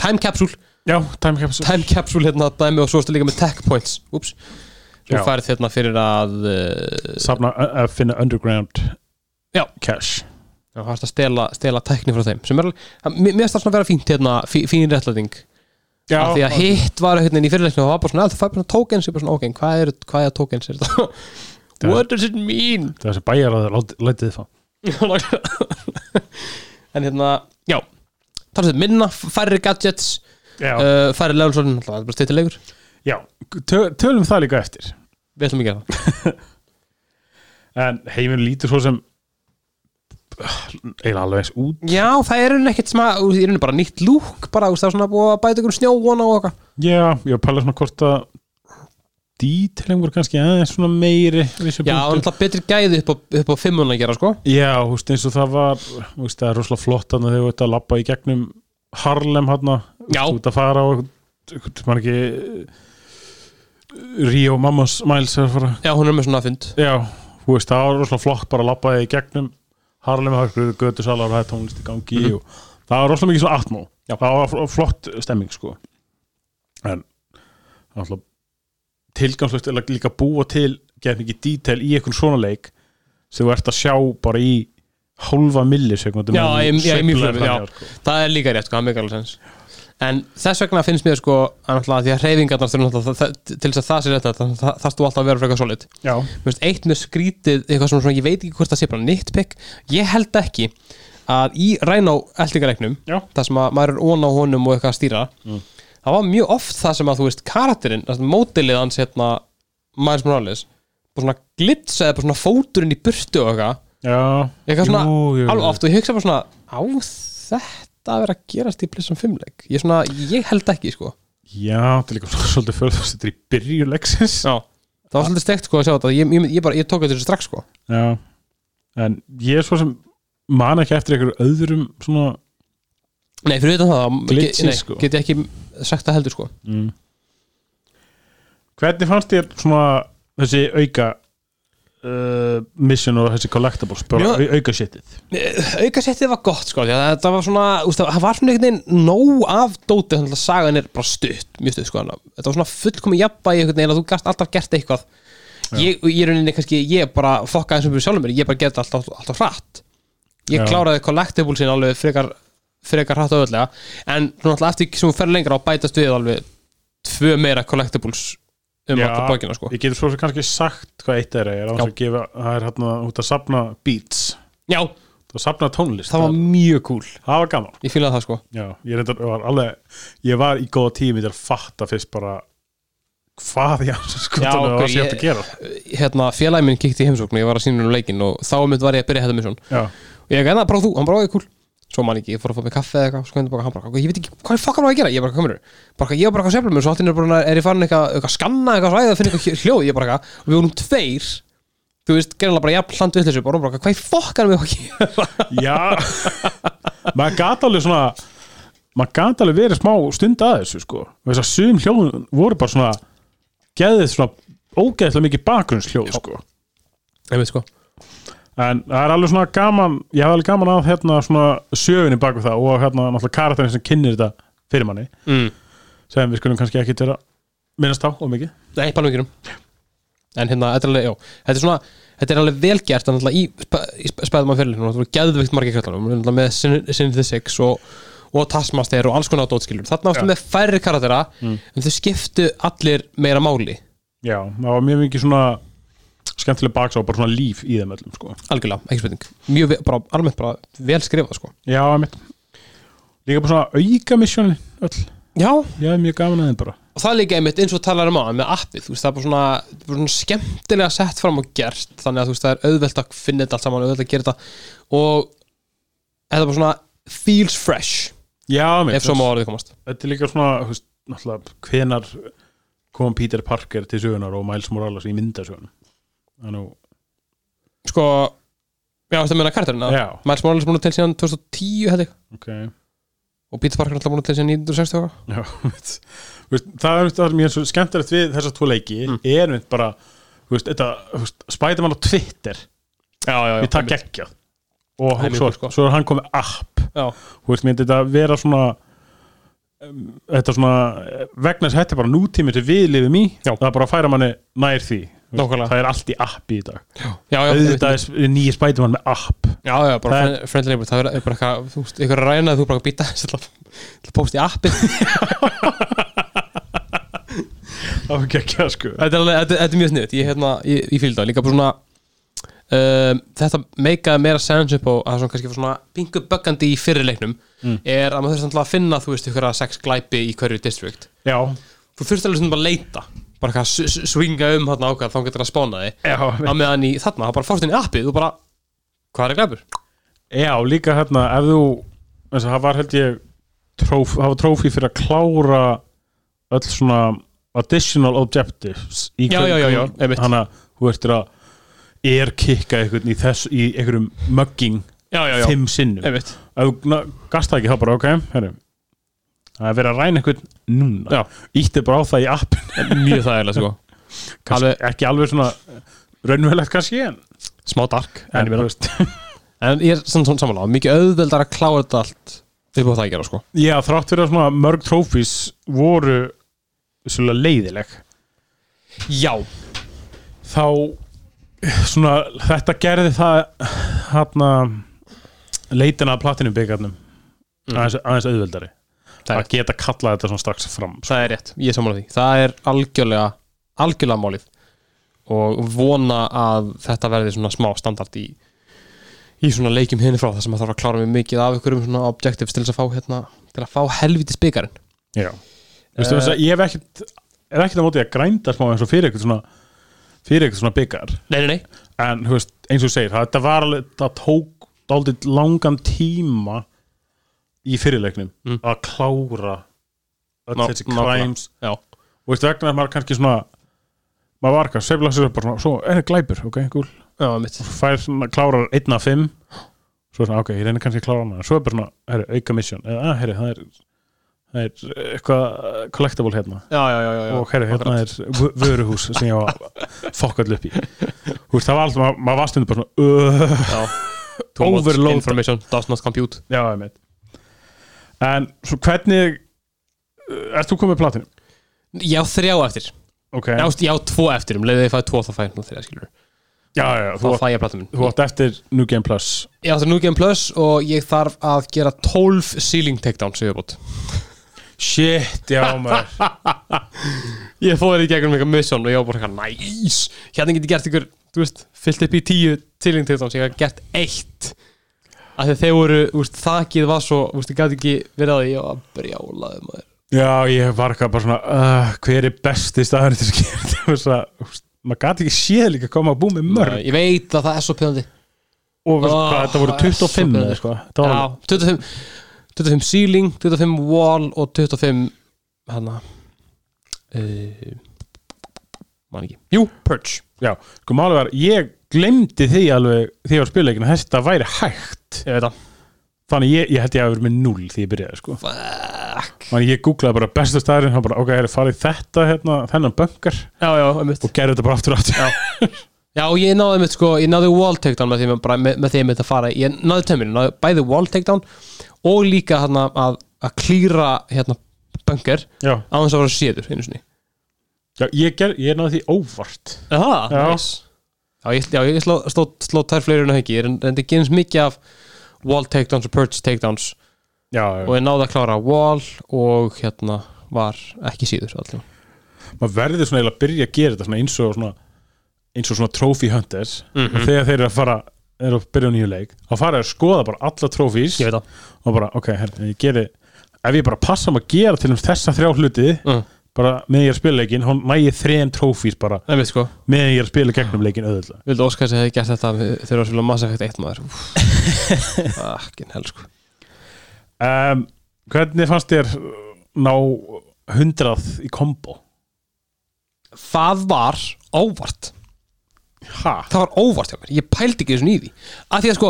S1: time capsule,
S2: já, time capsule
S1: time capsule hérna dæmi og svo erstu líka með tech points, úps
S2: Já.
S1: svo færð hérna fyrir að uh,
S2: safna að finna underground
S1: Já.
S2: cash
S1: já, hægt að stela, stela tækni frá þeim sem er alveg, það- mér mér finnst það svona vera fínt hérna, fí- fín réttlæting,
S2: já,
S1: af því að hitt var hérna í fyrirleikinu og það var bara svona, að það fær bara tokens, ég bara svona, ok, hvað er, hvað er tokens er þetta?
S2: Það-
S1: What does it mean?
S2: það er sem bæjar að lætið þið fá
S1: en hérna, já talaðu minna, færri gadgets
S2: já,
S1: uh, færri levelsorðin, það er bara steytilegur
S2: já. Töl, tölum það líka eftir
S1: við ætlum ekki að gera
S2: en heiminn lítur svo sem uh, eiginlega alveg eins út
S1: það já, það er unni ekkert smá, í rauninni bara nýtt lúk bara, þú veist, það er svona búið að bæta ykkur snjóvona og okkar
S2: já, ég var að pæla svona hvort að dítelum voru kannski aðeins svona meiri
S1: já, og náttúrulega betri gæði upp á, upp á fimmuna að gera, sko
S2: Já, þú veist, eins og það var þú veist, það er rosalega flott þannig að þau veit að labba í gegnum Harlem hann
S1: Já.
S2: út að fara og eitthvað maður ekki eh, Rio Mamas Miles er að fara
S1: já, hún er með svona fund
S2: Já, þú veist, það var rosalega flott bara að labba í gegnum Harlem hörkur, götu salar og það er tónlist í gangi
S1: Mhm.
S2: og það var rosalega mikið svona atmó
S1: Já.
S2: það var fl- flott stemming sko en alltaf tilgangslögt er líka að búa til gett mikið detail í einhvern svona leik sem þú ert að sjá bara í hálfa millisekundum
S1: Já,
S2: meðan þú
S1: í- já, í mjög
S2: sveiflar
S1: fljótu, já.
S2: þannig, sko.
S1: það er líka rétt, sko, það er mjög alveg sens en þess vegna finnst mér, sko að náttúrulega því að hreyfingarnar þurfa náttúrulega það- það- til þess að það sé rétt það þarfst þú alltaf að vera frekar solid
S2: já,
S1: Mér finnst eitt mjög skrítið eitthvað svona, svona, ég veit ekki hvort það sé bara nitpick ég held ekki að í ræna á eldingareiknum,
S2: Já. Mm.
S1: það sem að maður er ón á honum og eitthvað að stýra það var mjög oft það sem að þú veist karakterinn, það sem mótilið hans hérna Miles Morales, bara svona glitsaði bara svona fóturinn í burtu og eitthvað
S2: já
S1: eitthvað svona,
S2: jú, jú,
S1: alveg oft og ég hugsa bara svona, á þetta að vera að gerast í blissum fimmleik, ég svona ég held ekki sko,
S2: já, það er líka svona svolítið fyrir þess að þetta er í byrju leiksins
S1: já það var svolítið stekt sko að sjá þetta, ég, ég, ég bara ég tók þetta strax sko,
S2: Já, en ég er svo sem man ekki eftir einhverju öðrum svona
S1: Nei, fyrir utan það þá
S2: Glitches,
S1: ge- nei,
S2: sko.
S1: Get ég ekki sagt það heldur sko
S2: Hvernig fannst þér svona þessi auka uh, mission og þessi collectibles bara
S1: Mjög-
S2: au, auka shitið
S1: Eh, Aukasettið var gott sko því að þetta var svona, úst, það var svona einhvern veginn nóg af dótið, þannig að sagan er bara stutt mjög stutt sko, þannig að þetta var svona fullkomi jafnbæði einhvern veginn að þú gast alltaf gert eitthvað ég, ég er rauninni kannski, ég bara fokkaði sem við sjálfum mér, ég bara gerði alltaf, alltaf hratt ég
S2: Já.
S1: kláraði collectible sin alveg frekar, frekar hratt og öðlega en svona alltaf eftir sem hún fer lengra á bætast við alveg tvö meira collectibles um
S2: Já.
S1: alltaf bókina sko
S2: Ég getur svo sem kannski sagt hvað eitt er er að
S1: Já.
S2: að gefa, það er hérna út að safna beats
S1: Já,
S2: og safna tónlist
S1: það var mjög cool
S2: það var gaman
S1: ég fílaði það sko
S2: já, ég, reyndar, var alveg, ég var í góða tími til að fatta fyrst bara hvað ég hans sko
S1: Já,
S2: það
S1: ok,
S2: var sér
S1: ég-
S2: að gera
S1: hérna félagin minn kíkti í heimsókn og ég var að sína um leikin og þá um var ég að byrja þetta með svona
S2: já,
S1: og ég gæna bara þú, hann bara áður kúl svo man ég ekki, ég fór að fá mig kaffe eða eitthvað, sko hendur bara hann bara, ég veit ekki, hvað er fokk hann á að gera ég bara, komur, bara, ég var bara eitthvað sefnum og svo allt í einu er bara, er ég farin eitthvað, eitthvað skanna eitthvað svæðið að finna eitthvað hljóð, ég bara eitthvað og við vorum tveir, þú veist, gerðanlega bara jafn hlant við þessu, bara, bara hvað er fokk hann við okki
S2: já. maður gat alveg svona maður gat alveg verið smá stund að þessu sko þess að sum hljóðun voru bara svona geðið svona ógeðslega mikið bakgrunnshljóð sko
S1: einmitt sko,
S2: en það er alveg svona gaman ég hef alveg gaman að hérna svona sögunni bak við það og hérna náttúrulega karakterin sem kynir þetta fyrir manni
S1: mm.
S2: sem við skulum kannski ekki vera minnast á og mikið
S1: nei, bara mikið um en hérna, þetta er alveg, já, þetta er svona þetta er alveg vel gert, en alltaf í, spa- í spæðum að fyrirlinu, þú eru geðvikt margir kallar með Sin- Sin the Six og og Taskmaster og alls konar dótskilur þarna áttu
S2: Já.
S1: með færri karatera en þau skiptu allir meira máli
S2: já, það var mjög mikið svona skemmtileg baksa og bara svona líf í þeim öllum sko.
S1: algjörlega, ekki spurning mjög ve- bara, almennt bara vel skrifað sko
S2: já, mitt líka bara svona auka misjónin öll
S1: já,
S2: ég hef mjög gaman að þeim bara
S1: og það er líka einmitt eins og talar um aðan með appið, þú veist, það er bara svona, bara svona skemmtilega sett fram og gert þannig að þú veist, það er auðvelt að finna þetta allt saman auðvelt að gera þetta og þetta er bara svona feels fresh
S2: já,
S1: ef
S2: mitt,
S1: svo má orðið komast
S2: þetta er líka svona þú veist, náttúrulega hvenar kom Peter Parker til sögunar og Miles Morales í myndasögunum þannig,
S1: sko, já, þetta meina karturinn að
S2: já,
S1: Miles Morales er búin að til síðan 2010 held ég
S2: ok
S1: og Peter Parker er alltaf búin að til síðan 1960 og eitthvað.
S2: Já, veist, veist, það er það er mjög svo skemmtilegt við þessa tvo leiki
S1: Mm.
S2: er mitt bara veist, þetta, veist, Spiderman á Twitter
S1: já, já,
S2: við takk ekki og
S1: Það er
S2: hann,
S1: mjög
S2: svo,
S1: cool, sko.
S2: svo er hann komið app
S1: já,
S2: Þú veist, mér þetta vera svona um, þetta svona vegna þess að þetta er bara nútími sem við lifum í
S1: Já.
S2: það er bara að færa manni nær því Þú veist,
S1: Nákvæmlega.
S2: það er allt í app í dag
S1: já, já, einmitt.
S2: auðvitað er nýja Spiderman með app
S1: Já, já, bara
S2: Það
S1: friend, friendly neighbor Það er bara eitthvað, þú veist, ykkur að ræna að Þú bara býta þess til að til að posta í appi
S2: okay, ekki, sko.
S1: Þetta er alveg, þetta, þetta er mjög sniðut Ég, hérna, ég, ég fylgði það líka bara svona um, Þetta meikaði meira sense upp á að svona kannski var svona pingu böggandi í fyrirleiknum
S2: Mm.
S1: er að maður þurfti alltaf að finna, þú veist, ykkur að sex glæpi í hverju district
S2: já,
S1: Þú þurfti alveg svona bara að leita bara eitthvað að s- s- swinga um þarna ákvæð þá getur það að spána þig
S2: já,
S1: að meðan í þarna, það bara fórst inn í appið og bara, hvað er glæpur?
S2: Já, líka hérna ef þú, þess að það var held ég tróf, það var trófi fyrir að klára öll svona additional objectives í
S1: Já, já, já, já, einmitt.
S2: Þannig að þú ertir að er kikka einhvern í þess í einhverjum mugging
S1: Já, já, já,
S2: fimm sinnum
S1: einmitt
S2: ef þú na- gast það ekki þá bara ok heru. það er verið að ræna einhvern núna
S1: Já.
S2: ítti bara á það í appin
S1: Mjög þægilega, sko
S2: kannski, ekki alveg svona raunverulegt kannski en,
S1: Smá dark,
S2: en
S1: meina.
S2: þú veist,
S1: En ég er samt svona samanlega, mikið auðveldar að klára þetta allt upp á það að gera sko
S2: Já, þrátt fyrir að svona mörg trófís voru svolítið leiðileg
S1: Já,
S2: þá svona þetta gerði það hérna leitina að platinum byggarnum
S1: Mhm.
S2: aðeins, aðeins auðveldari
S1: Það er
S2: að geta kallað þetta svona strax fram sko.
S1: það er rétt, ég er samanlega því Það er algjörlega, algjörlega málið og vona að þetta verði svona smá standard í í svona leikjum henni frá þar sem að þarf að klára mjög mikið af ykkur um svona objectives til þess að fá hérna, til að fá helvítið spikarinn
S2: Já Vistu, uh, Ég hef ekkert er ekkert að móti að grænda smá eins og fyrir eitthvað svona fyrir eitthvað svona byggar
S1: Nei, nei, nei,
S2: en þú veist, eins og þú segir, það- þetta var alveg það tók dálítið langan tíma í fyrirleiknum
S1: Mm.
S2: að klára öll
S1: Ná-
S2: þessi
S1: nákvæmlega.
S2: crimes
S1: já,
S2: og veist, vegna að maður kannski svona maður var kannski, sveifla sér bara svona svo er það glæpur, ok, gúl,
S1: já, mitt
S2: fær svona klárar 1 af 5 svo er svona, ok, ég reynir kannski að klára hana svo er bara svona, herri, auka mission eða, að, herri, það er það er eitthvað collectible hérna
S1: Já, já, já, já, já.
S2: og herri, hérna er vö- vöruhús sem ég var fokkall upp í Þú veist, það var alltaf, maður, maður var stundum bara svona uh,
S1: já. Too much
S2: Overload.
S1: Information does not compute
S2: já, ég meit en svo hvernig uh, ert þú komið með platinu?
S1: Ég á þrjá eftir,
S2: ok,
S1: ég
S2: já,
S1: á, ég á tvo eftir um leiðið ég fæði tvo þá fæði hérna þrjá skilur
S2: já, já
S1: Þá
S2: þú, átt-
S1: fæ ég platum
S2: þú átt eftir New Game Plus
S1: Ég átti New Game Plus og ég þarf að gera 12 ceiling takedowns í viðbót.
S2: shit, já maður
S1: Ég fóður í gegnum eitthvað mission og ég var bara eitthvað næs Hérna get ég gert ykkur, þú veist, fyllt upp í 10 ceiling takedowns Ég hef gert eitt að þegar þeir voru, úst, þakið var svo úst, ég gæti ekki verið að því að brjálaði maður
S2: Já, ég var eitthvað bara svona uh, hver er besti staðurinn til að gera þetta Þú veist að, þú veist, maður gæti ekki séð líka hvað maður búið með mörg
S1: Nei, ég veit að það er svo pjöndi
S2: og veist,
S1: Ah,
S2: hvað, þetta voru
S1: það er svo
S2: 25
S1: betur.
S2: eða sko. það var,
S1: Já, 25, 25 ceiling, 25 wall og 25 hana uh, man ekki Jú, perch
S2: já, sko málið var ég glemdi því alveg því ég var að spila leikin að þetta væri hægt
S1: Ég veit það
S2: þannig ég, ég held ég að vera með 0 því ég byrjaði sko.
S1: Fuck
S2: þannig ég googlaði bara besta staðurinn og bara ok, er það farið þetta hérna, þennan böngar
S1: Já, já, einmitt
S2: og gerði þetta bara aftur og aftur já,
S1: Já, og ég náði einmitt sko, ég náði wall takedown með því að bara, með, með því einmitt að fara Ég náði tömminu, náði bæði wall takedown og líka hana að, að klíra hérna bunker
S2: já.
S1: á þess að vera séður einu sinni
S2: ég, ger, ég náði því óvart
S1: Aha,
S2: Já.
S1: nice. Já, ég, já, ég sló, sló, sló tær fleiri en auki Ég reyndi ekki eins mikið af wall takedowns og purge takedowns
S2: já,
S1: og ég náði að klára wall og hérna var ekki síður allir.
S2: maður verður svona eiginlega að byrja að gera þetta svona eins og svona eins og svona trophy hunters og þegar þeir eru að fara eru að byrja á nýju leik þá fara þeir að skoða bara alla trophies
S1: Ég veit það.
S2: og bara ok, herr, ég geri ef ég bara passa um að gera til um þessa þrjá hluti
S1: Mm.
S2: bara meðan ég er að spila leikin hún næ ég þrejum trophies bara
S1: Nei, við sko,
S2: meðan ég er að spila gegnum leikin auðvitað
S1: vildu óska þess að ég hef gert þetta þegar það var svolítið Mass Effect 1 maður. Akkin hel sko.
S2: um, hvernig fannst þér uh, ná hundrað í kombo?
S1: Það var óvart.
S2: Ha?
S1: Það var óvart hjá mér. Ég pældi ekki þessum í því. Af því að sko,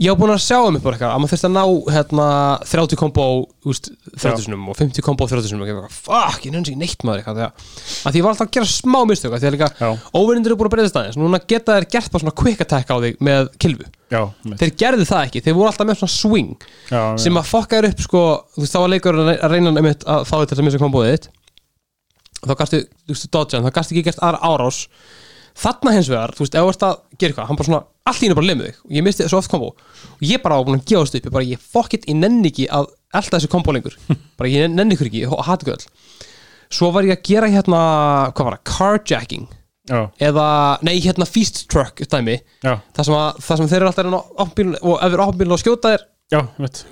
S1: ég hef búin að sjá um eitthvað að maður þurfti að ná hérna 30 kombo úst, 30 sinum og 50 kombo 30 sinum og ég var fuck, ég nefnst ekki neitt maður eitthvað. Af því að- af því ég var alltaf að gera smá mistök af því að líka
S2: Já,
S1: óverindur eru búin að breyðast aðeins. Núna geta þær gert bara svona quick attack á þig með kilfu.
S2: já,
S1: þeir gerðu það ekki, þeir voru alltaf með svona swing
S2: já,
S1: sem að fokka þér upp sko þú veist þá var leikur að reyna einmitt að fá þetta sem missa komboðið þitt þá gastu, þú veist, dodge hann, þá gastu ekki gert aðra árás þarna hins vegar, þú veist, ef þú ert að gera eitthvað hann bara svona, allt í hennu bara lemið þig og ég misti svo oft kombo og ég bara á búin að gefa þessu upp ég bara, ég fokk it, ég nenni ekki að elta þessu kombo lengur bara ég nenni ykkur ekki, ég hati ykkur öll svo var ég að gera hérna, hvað var það, carjacking
S2: já,
S1: eða, nei, hérna feast truck dæmi,
S2: já,
S1: það sem, að, það sem þeir eru alltaf að reyna á opnbílun og ef þeir eru á opnbílun og skjóta þér
S2: já, mitt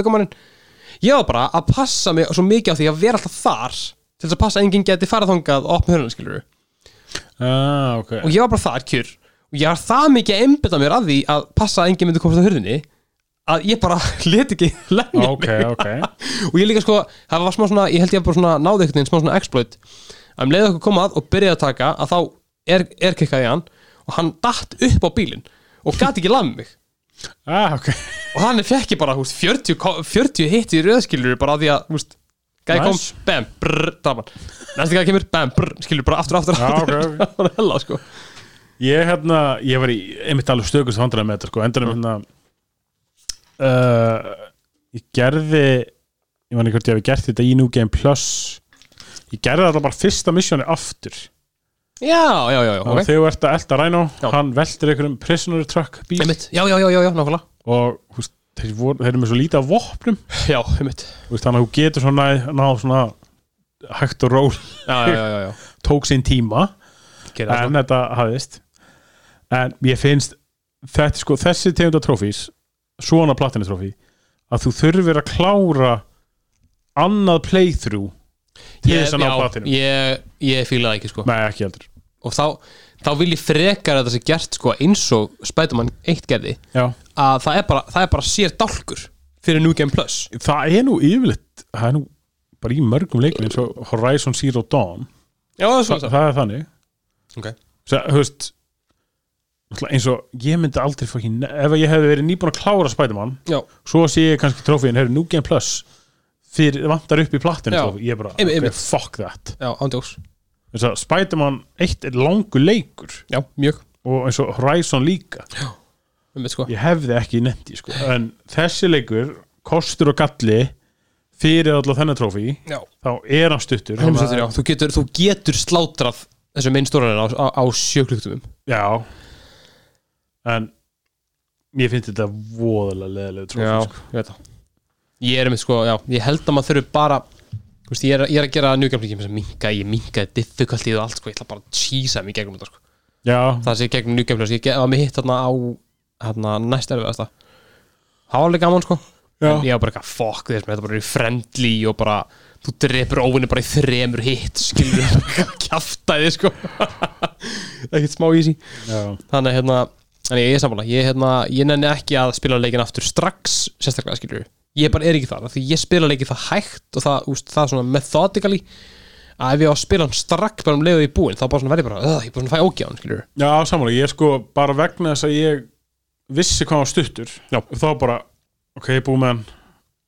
S1: aukumannin ég var bara að passa mig svo mikið á því að vera alltaf þar til þess að passa að enginn geti farað þangað og opna hörðan skilur
S2: Ah, ok
S1: og ég var bara þar kjur og ég var það mikið að einbytta mér að því að passa að enginn myndi komast á hörðinni að ég bara leti ekki lengi
S2: Ok, ok
S1: og ég líka sko, það var smá svona ég held ég bara svona náði einhvern veginn smá svona exploit að um leiði okkur komað og byrjaði að taka að þá er, er kikkaði hann og hann datt upp á bílinn og gati ekki lað mig
S2: Ah, ok
S1: og hann fekk ég bara húst, 40, ko- 40 hitt í röðskilur bara af því að húst, gæði kom,
S2: Nice.
S1: bam, brr, tapan næstu gæði kemur, bam, brr, skilur bara aftur, aftur,
S2: Já,
S1: aftur
S2: ok,
S1: það var hella sko
S2: Ég, hérna, ég var í einmitt alveg stökust vandræði með þetta sko, endur um hérna
S1: Mm.
S2: uh, ég gerði ég man ekki hvort ég hafi gert þetta í New Game Plus ég gerði þetta bara fyrsta missjóni aftur
S1: já, já, já, já,
S2: okay.
S1: ok
S2: þegar þú ert að elta Rhino,
S1: Já.
S2: hann veltir einhverjum prisoner truck bíl
S1: einmitt, já, já, já, já, já, nákvæmlega
S2: og húst, þeir, voru, þeir eru með svo lítið af vopnum
S1: já, einmitt,
S2: húst, þannig að þú getur svona náð svona hægt og ról
S1: já, já, já, sko. já, já.
S2: tók sinn tíma
S1: Gerið það
S2: en þetta hafðist en ég finnst þetta, sko, þessi tegunda trófís svona platinu trófí að þú þurfir að klára annað playthrough til
S1: Ég-
S2: þess að ná
S1: já,
S2: platinu
S1: ég, ég fílaði ekki sko
S2: Nei, ekki heldur
S1: og þá, þá vil ég frekar að það sé gert sko eins og Spiderman 1 gerði
S2: já.
S1: að það er bara, það er bara sér dálkur fyrir New Game Plus
S2: það er nú yfirleitt það er nú bara í mörgum leikum eins og Horizon Zero Dawn
S1: já, það er
S2: Þa, það er þannig
S1: ok
S2: Svo, þú veist, náttúrulega eins og ég myndi aldrei fucking, ef ég hefði verið nýbúin að klára Spiderman
S1: já,
S2: svo sé ég kannski trófíin, heyrðu, New Game Plus fyrir, vantar upp í platinu
S1: Já.
S2: trófí. ég er bara,
S1: Einmitt,
S2: ok,
S1: einmitt.
S2: fuck that
S1: já, ándjóks
S2: þess að Spiderman 1 er langur leikur
S1: já, mjög,
S2: og eins og Horizon líka
S1: um sko
S2: ég hefði ekki nefnt í sko en þessi leikur, kostur og galli fyrir allavega þennan trófí
S1: já
S2: þá er hann stuttur
S1: Helming stuttur, já. Þú getur, þú getur slátrað þessum einn stóranin á, á, á sjöklugtumum.
S2: já en ég finnst þetta voðalega leðilega trófí sko.
S1: ég veit það. Ég er um sko, já, ég held að maður þurfi bara, þú veist, ég er, ég er að gera njúkjafleikin sem minka, ég minkaði difficulty og allt, sko, ég ætla bara að cheesa mig í gegnum þetta, sko.
S2: já,
S1: Það sé í gegnum njúkjafleikin, ég ge- var mér hitt þarna á, hérna, næst erfiðasta. það var alveg gaman sko
S2: Já.
S1: en ég var bara eitthvað fokk þess með þetta bara er friendly og bara þú drepur óvinni bara í þremur hitt skilur kjaftaði sko ekkert smá easy
S2: Já,
S1: þannig að, hérna þannig að ég er sammála ég, hérna, ég nenni ekki að spila leikin aftur strax sérstaklega skilur ég bara er ekki þar af því ég spila leikin það hægt og það, úst, það svona methodically að ef ég á að spila hann strax bara um leiðu í búin þá bara svona verði bara "Ugh, ég bara svona fæ ógjáðan skilur
S2: já samanlega, ég sko bara vegna þess að ég vissi hvað var stuttur
S1: Já.
S2: og þá bara, ok, búið með hann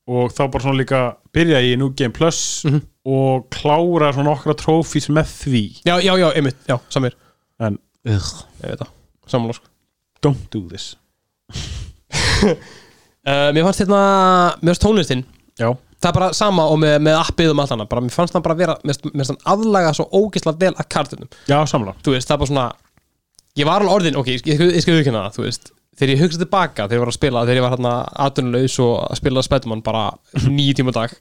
S2: og þá bara svona líka byrja ég í New Game Plus
S1: Mhm.
S2: og klára svona nokkra trófís með því
S1: já já já einmitt já samir
S2: en, ugh,
S1: ég veit það sammála sko
S2: don't do this
S1: uh, mér fannst hérna mér fannst tónlistin
S2: Já,
S1: það er bara sama og með, með appið um allt annað bara mér fannst það bara vera mér fannst- mér fannst það aðlaga svo ógislega vel að kartunum
S2: já samanlega
S1: þú veist, það er bara svona ég var alveg orðin, ok, ég, ég, ég skal viðkynna það, þú veist þegar ég hugsa tilbaka, þegar ég var að spila þegar ég var hérna aðdunulegs og að spila Spedman bara nýju tíma á dag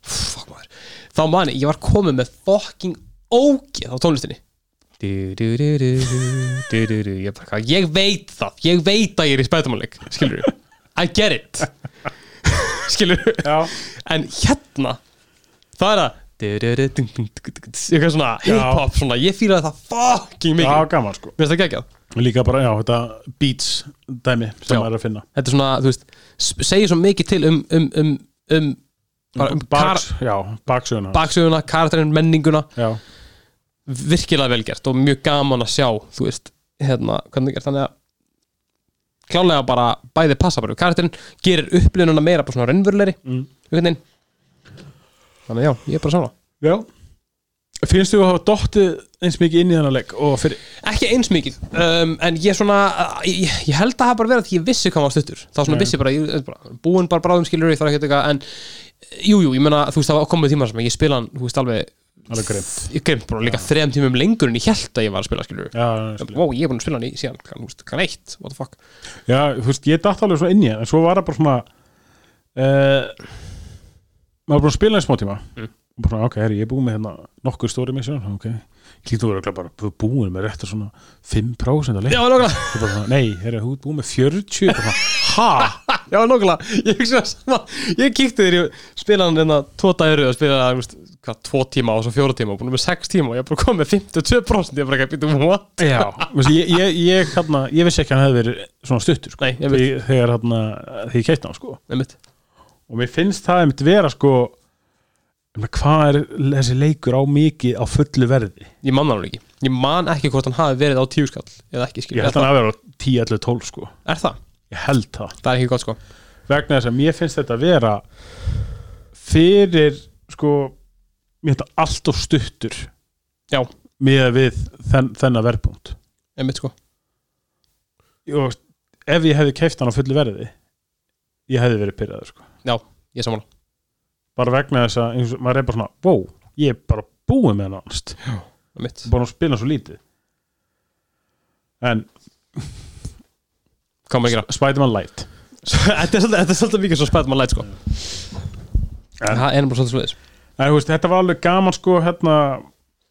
S1: fuck maður, þá mani ég var komið með fucking ógeð á tónlistinni du, du, du, du, du, du, du, du. Ég, bara, hvað, ég veit það, ég veit að ég er í Spedmanleik skilur du, I get it skilur du
S2: Já,
S1: en hérna það er að eitthvað svona hip-hop svona ég fýlaði það fucking mikið
S2: já
S1: mér
S2: gaman sko
S1: finnst það geggjað
S2: Líka bara, já, þetta beats dæmi sem
S1: Já.
S2: maður er að finna
S1: þetta er svona þú veist sp- segir svo mikið til um um um um bara um kar
S2: Baks, já, baksöðuna
S1: baksöguna karakterinn menninguna
S2: Já,
S1: virkilega vel gert og mjög gaman að sjá þú veist hérna hvernig það er gert þannig að klálega bara bæði passa bara við karakterinn gerir upplifununa meira bara svona raunverulegri
S2: Mm.
S1: einhvern veginn þannig að já ég er bara svona
S2: já Finnst þú að hafa dottið eins mikið inn í þennan leik og fyrir
S1: ekki eins mikið um, en ég svona, ég, ég held að það hafi bara verið að ég vissi hvað maður stuttur þá svona
S2: Nei.
S1: vissi bara, ég, bara búin bara bráðum skilur ég þarf ekki eitthvað en jújú, jú, ég meina þú veist það var komið tíma sem ég spila hann þú veist alveg,
S2: alveg greimt
S1: ég greimt bara líka þrejum tímum lengur en ég held að ég var að spila skilur
S2: Já,
S1: Vó, ég er búin að spila hann í síðan, hann, húst, hann eitt, what the fuck
S2: já, þú veist, ég datt alveg svona inn í það en svo var það bara svona uh, maður búin að spila einn smá tíma
S1: Mm.
S2: og bara, svona, ok, herri, ég er búin með hérna nokkur stóri mission, ok Líktum við að bara búin með rétt að svona 5% að leik
S1: Já, nokkulega,
S2: Svo bara svona, Nei, herri, þú ert búin með 40 bara, Ha?
S1: já, nokkulega Ég hugsa það sama, ég kíkti þér ég spila hann hérna tvo dæru að spila hann, húst, hvað, tvo tíma og svo fjóra tíma og búin með sex tíma og ég er bara komið með 52% ég er bara ekki að býta um what
S2: Já, þú veist, ég, ég, ég, hérna, ég vissi ekki að hann hefði verið svona stuttur sko,
S1: Nei, ég veit.
S2: þegar, þegar, hérna, þegar ég keitt hann sko.
S1: Einmitt.
S2: og mér finnst það einmitt vera sko, ég meina, hvað er þessi leikur á mikið á fullu verði
S1: Ég man það nú ekki Ég man ekki hvort hann hafi verið á tíu skall Eða ekki
S2: ég
S1: skilur
S2: held hann að vera á 10, 11, 12 sko.
S1: Er það?
S2: ég held það
S1: Það er ekki gott sko
S2: vegna þess að mér finnst þetta vera fyrir sko, mér finnst það allt of stuttur
S1: Já,
S2: með við þenn, þennan verðpunkt
S1: einmitt sko
S2: og ef ég hefði keift hann á fullu verði ég hefði verið pyrraður sko.
S1: Já, ég er sammála
S2: bara vegna þess að eins og, maður er bara svona, wow, ég er bara búið með hann annast,
S1: Einmitt
S2: bara að spila svo lítið en
S1: Hvað maður að gera?
S2: Spiderman Light
S1: Þetta er svolítið- þetta er svolítið mikið svo spætt maður læt sko
S2: En-
S1: Það er bara svolítið svolítið
S2: en þú veist, þetta var alveg gaman sko hérna,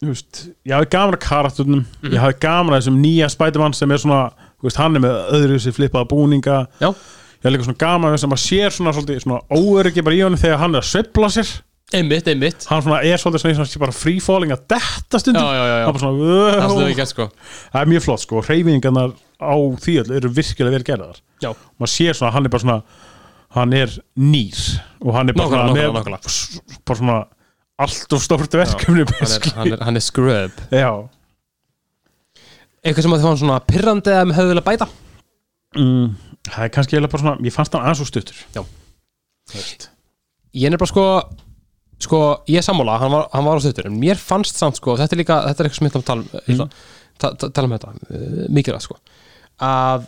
S2: þú veist, ég hafði gaman að karakturnum,
S1: Mhm.
S2: ég hafði gaman að þessum nýja Spiderman sem er svona, þú veist, hann er með öðru sér flippaða búninga
S1: Já.
S2: ég hafði líka svona gaman að þess að maður sér svona, svona, svona óöryggi bara í honum þegar hann er að sveifla sér
S1: Einmitt, einmitt
S2: hann svona er svolítið svona, eins og hann sé bara free falling að detta
S1: Já,
S2: stundum
S1: já, já, já.
S2: Það er bara svona,
S1: Það slöðu
S2: "Wow."
S1: ekki að sko
S2: það er mjög flott sko, reyfingarnar á því öll eru virkilega vel gerðar
S1: Já,
S2: maður sér svona, hann er bara svona hann er nýr og hann er bara
S1: Nákvæmlega,
S2: svona,
S1: nákvæmlega, nákvæmlega.
S2: s- bara svona allt of stórt verkefni
S1: hann er, hann, er, hann er scrub
S2: já
S1: Eitthvað sem að það var svona pirrandi eða með höfðu vilja bæta
S2: mm, það er kannski eiginlega bara svona ég fannst hann aðeins og stuttur
S1: Já.
S2: Þú veist.
S1: ég er nefnilega sko sko, ég er sammála, hann var, hann var á stöttur en mér fannst samt sko, þetta er líka þetta er eitthvað sem ég ætla að tala um, ég ætla, ta, ta, tala um þetta, eh, mikilvægt sko að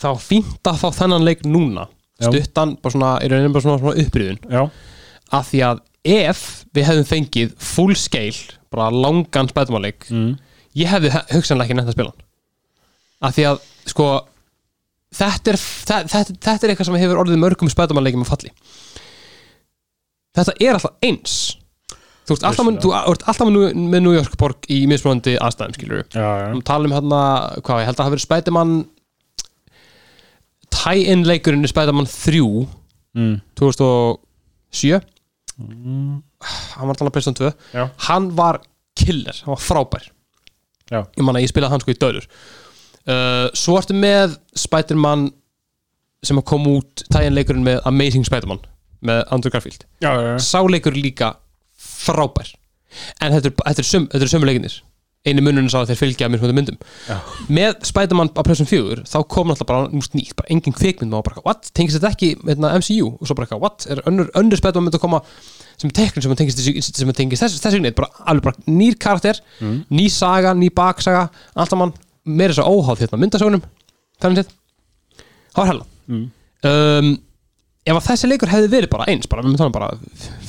S1: þá fínta þá þennan leik núna
S2: Já.
S1: stuttan, bara svona, er raunin bara svona, svona uppriðun
S2: já,
S1: að því að ef við hefðum fengið full scale, bara langan spætumáleik
S2: mm.
S1: ég hefði he- hugsanlega ekki nefnt að spila hann af því að sko þetta er, það, þetta, þetta er eitthvað sem hefur orðið mörgum spætumannleikjum að falli þetta er alltaf eins þú veist alltaf, með, þú ert alltaf með, New- með New York borg í mismunandi aðstæðum skilur við
S2: já, já,
S1: um talum hérna, hvað ég held að hafa verið Spiderman tie-in leikurinn í Spider-Man 3
S2: mm.
S1: 2007 hann var talað Playstation 2
S2: Já.
S1: hann var killer, hann var frábær
S2: Já.
S1: ég manna, ég spilaði hann sko í döður uh, svo ertu með Spider-Man sem kom út tie-in leikurinn með Amazing Spider-Man með Andrew Garfield
S2: já, já, já.
S1: sáleikur líka frábær en þetta er, þetta er, sum, þetta er sömu leikinir einu munurinn sá að þeir fylgja mjög myndum
S2: Já.
S1: með Spider-Man á Playstation 4 þá kom náttúrulega bara múst nýtt, bara engin kvikmynd og bara, what, tengist þetta ekki hérna, MCU og svo bara, eitthvað, what, er önnur, önnur Spider-Man mynd að koma sem teknir sem tengist, þessu- sem tengist þessu, þessu neitt, bara alveg bara nýr karakter
S2: Mm.
S1: ný saga, ný baksaga alltaf mann, meira þess að óháð hérna myndasögunum, þannig séð það var hella
S2: Mm.
S1: um, ef að þessi leikur hefði verið bara eins bara, við myndum bara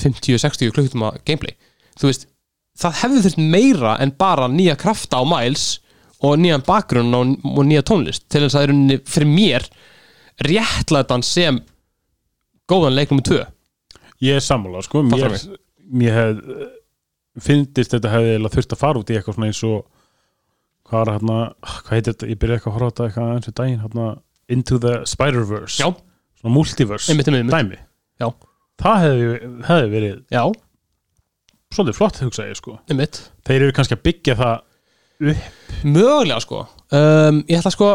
S1: 50-60 klukkutum að gameplay þú veist, það hefði þurft meira en bara nýja krafta á Miles og nýjan bakgrunn og, og nýja tónlist til þess að það er unni fyrir mér réttlætan sem góðan leik nummer 2
S2: ég er sammála sko
S1: Fattar
S2: mér, mér hef fyndist þetta hefði eiginlega þurft að fara út í eitthvað svona eins og hvað er hérna, hvað heitir þetta, ég byrja eitthvað að horfa á þetta eitthvað eins og daginn hérna Into the Spider-Verse,
S1: já,
S2: svona multiverse
S1: einmitt um einmitt
S2: dæmi,
S1: já,
S2: það hefði, hefði verið
S1: já,
S2: svolítið flott hugsa ég sko
S1: einmitt
S2: þeir eru kannski að byggja það upp
S1: mögulega sko um, ég ætla sko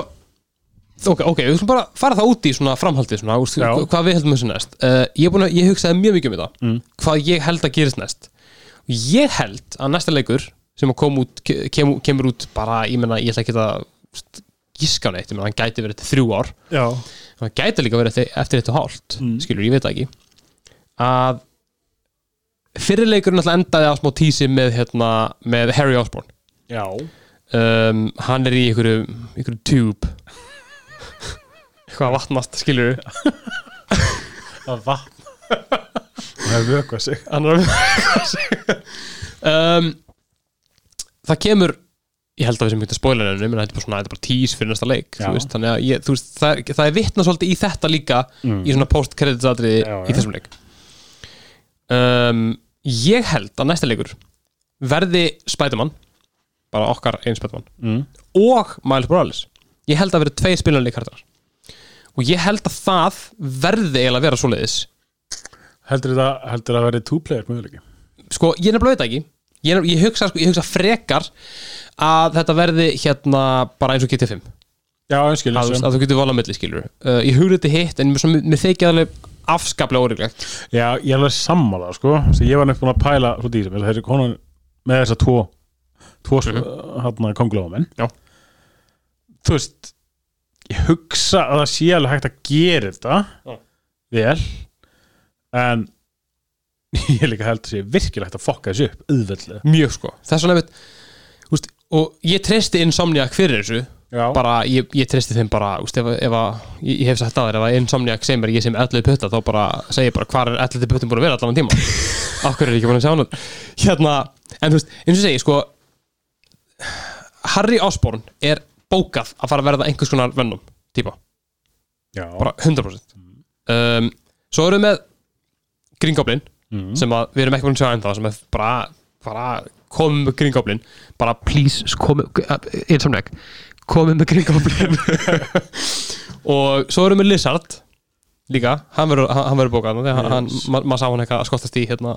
S1: ok, ok, við skulum bara fara það út í svona framhaldið svona, úst,
S2: Já.
S1: hvað við heldum þessu næst uh, ég, er búinn að, ég hugsaði mjög mikið um þetta
S2: Mm.
S1: hvað ég held að gerist næst ég held að næsta leikur sem að kom út, ke- kem, kemur út bara, ég menna, ég ætla ekki að úst, gíska á neitt, ég menna, hann gæti verið eftir þrjú ár
S2: já,
S1: hann gæti líka verið eftir, eftir eitt og hálft
S2: Mm.
S1: skilur, ég veit það ekki að fyrirleikurinn alltaf endaði á smá tísi með, hérna, með Harry Osborn
S2: já.
S1: um, hann er í einhverju, einhverju tube eitthvað vatnast skilur
S2: það vatn það hefur vökvað sig
S1: hann er um, það kemur ég held að við sem myndum spóla henni menn þetta er bara svona, þetta er bara tís fyrir næsta leik
S2: Já.
S1: þú veist, þannig að ég, þú veist, það, er- það er vitna svolítið í þetta líka
S2: Mm.
S1: í svona post-credits atriði
S2: Já, já.
S1: í þessum leik um, ég held að næsta leikur verði Spiderman bara okkar einn Spiderman
S2: mm.
S1: og Miles Morales ég held að vera tvei spilunni kartar og ég held að það verði eiginlega að vera svoleiðis
S2: heldur það heldur það verið two player möguleiki
S1: sko, ég nefnilega veit það ekki ég, nefnilega, ég, hugsa, sko, ég hugsa frekar að þetta verði hérna bara eins og GT5
S2: já, einskil
S1: að, þú- að þú getur valað á milli skilur uh, ég hugur þetta hitt en mér, svona- mér þykja alveg afskaplega óreglegt
S2: já, ég er alveg sammála sko sem ég var nefnilega búin að pæla svo dýsum þess að þessi konan með þessa tvo tvo mm -hmm. hann konglóðamenn
S1: Já.
S2: þú veist ég hugsa að það sé alveg hægt að gera þetta
S1: Já.
S2: vel en ég líka held að sé virkilega hægt að fokka þessu upp auðveldlega
S1: mjög sko þess vegna veit úst, og ég treysti Insomniac fyrir þessu
S2: Já,
S1: bara, ég, ég treysti þeim bara úst, ef, ef að, ég, ég hef sagt að þér ef að insomniak sem er ég sem ætlaði putta þá bara segi ég bara hvar er ætlaði puttin búin að vera allan þann tíma okkur er ég ekki búin að sjá hann hérna, en þú veist, eins og segi sko Harry Osborn er bókað að fara að verða einhvers konar vennum típa,
S2: já,
S1: bara 100% um, svo erum við með Green Goblin
S2: mm.
S1: sem að við erum ekki búin að sjá ennþá sem er bara, bara komum með Green Goblin bara please uh, komum insomniac, komum með Green Goblin og svo erum við Lizard líka, hann verður hann- hann verður bókað þannig að hann,
S2: Yes.
S1: ma- maður sá hann eitthvað að skottast í hérna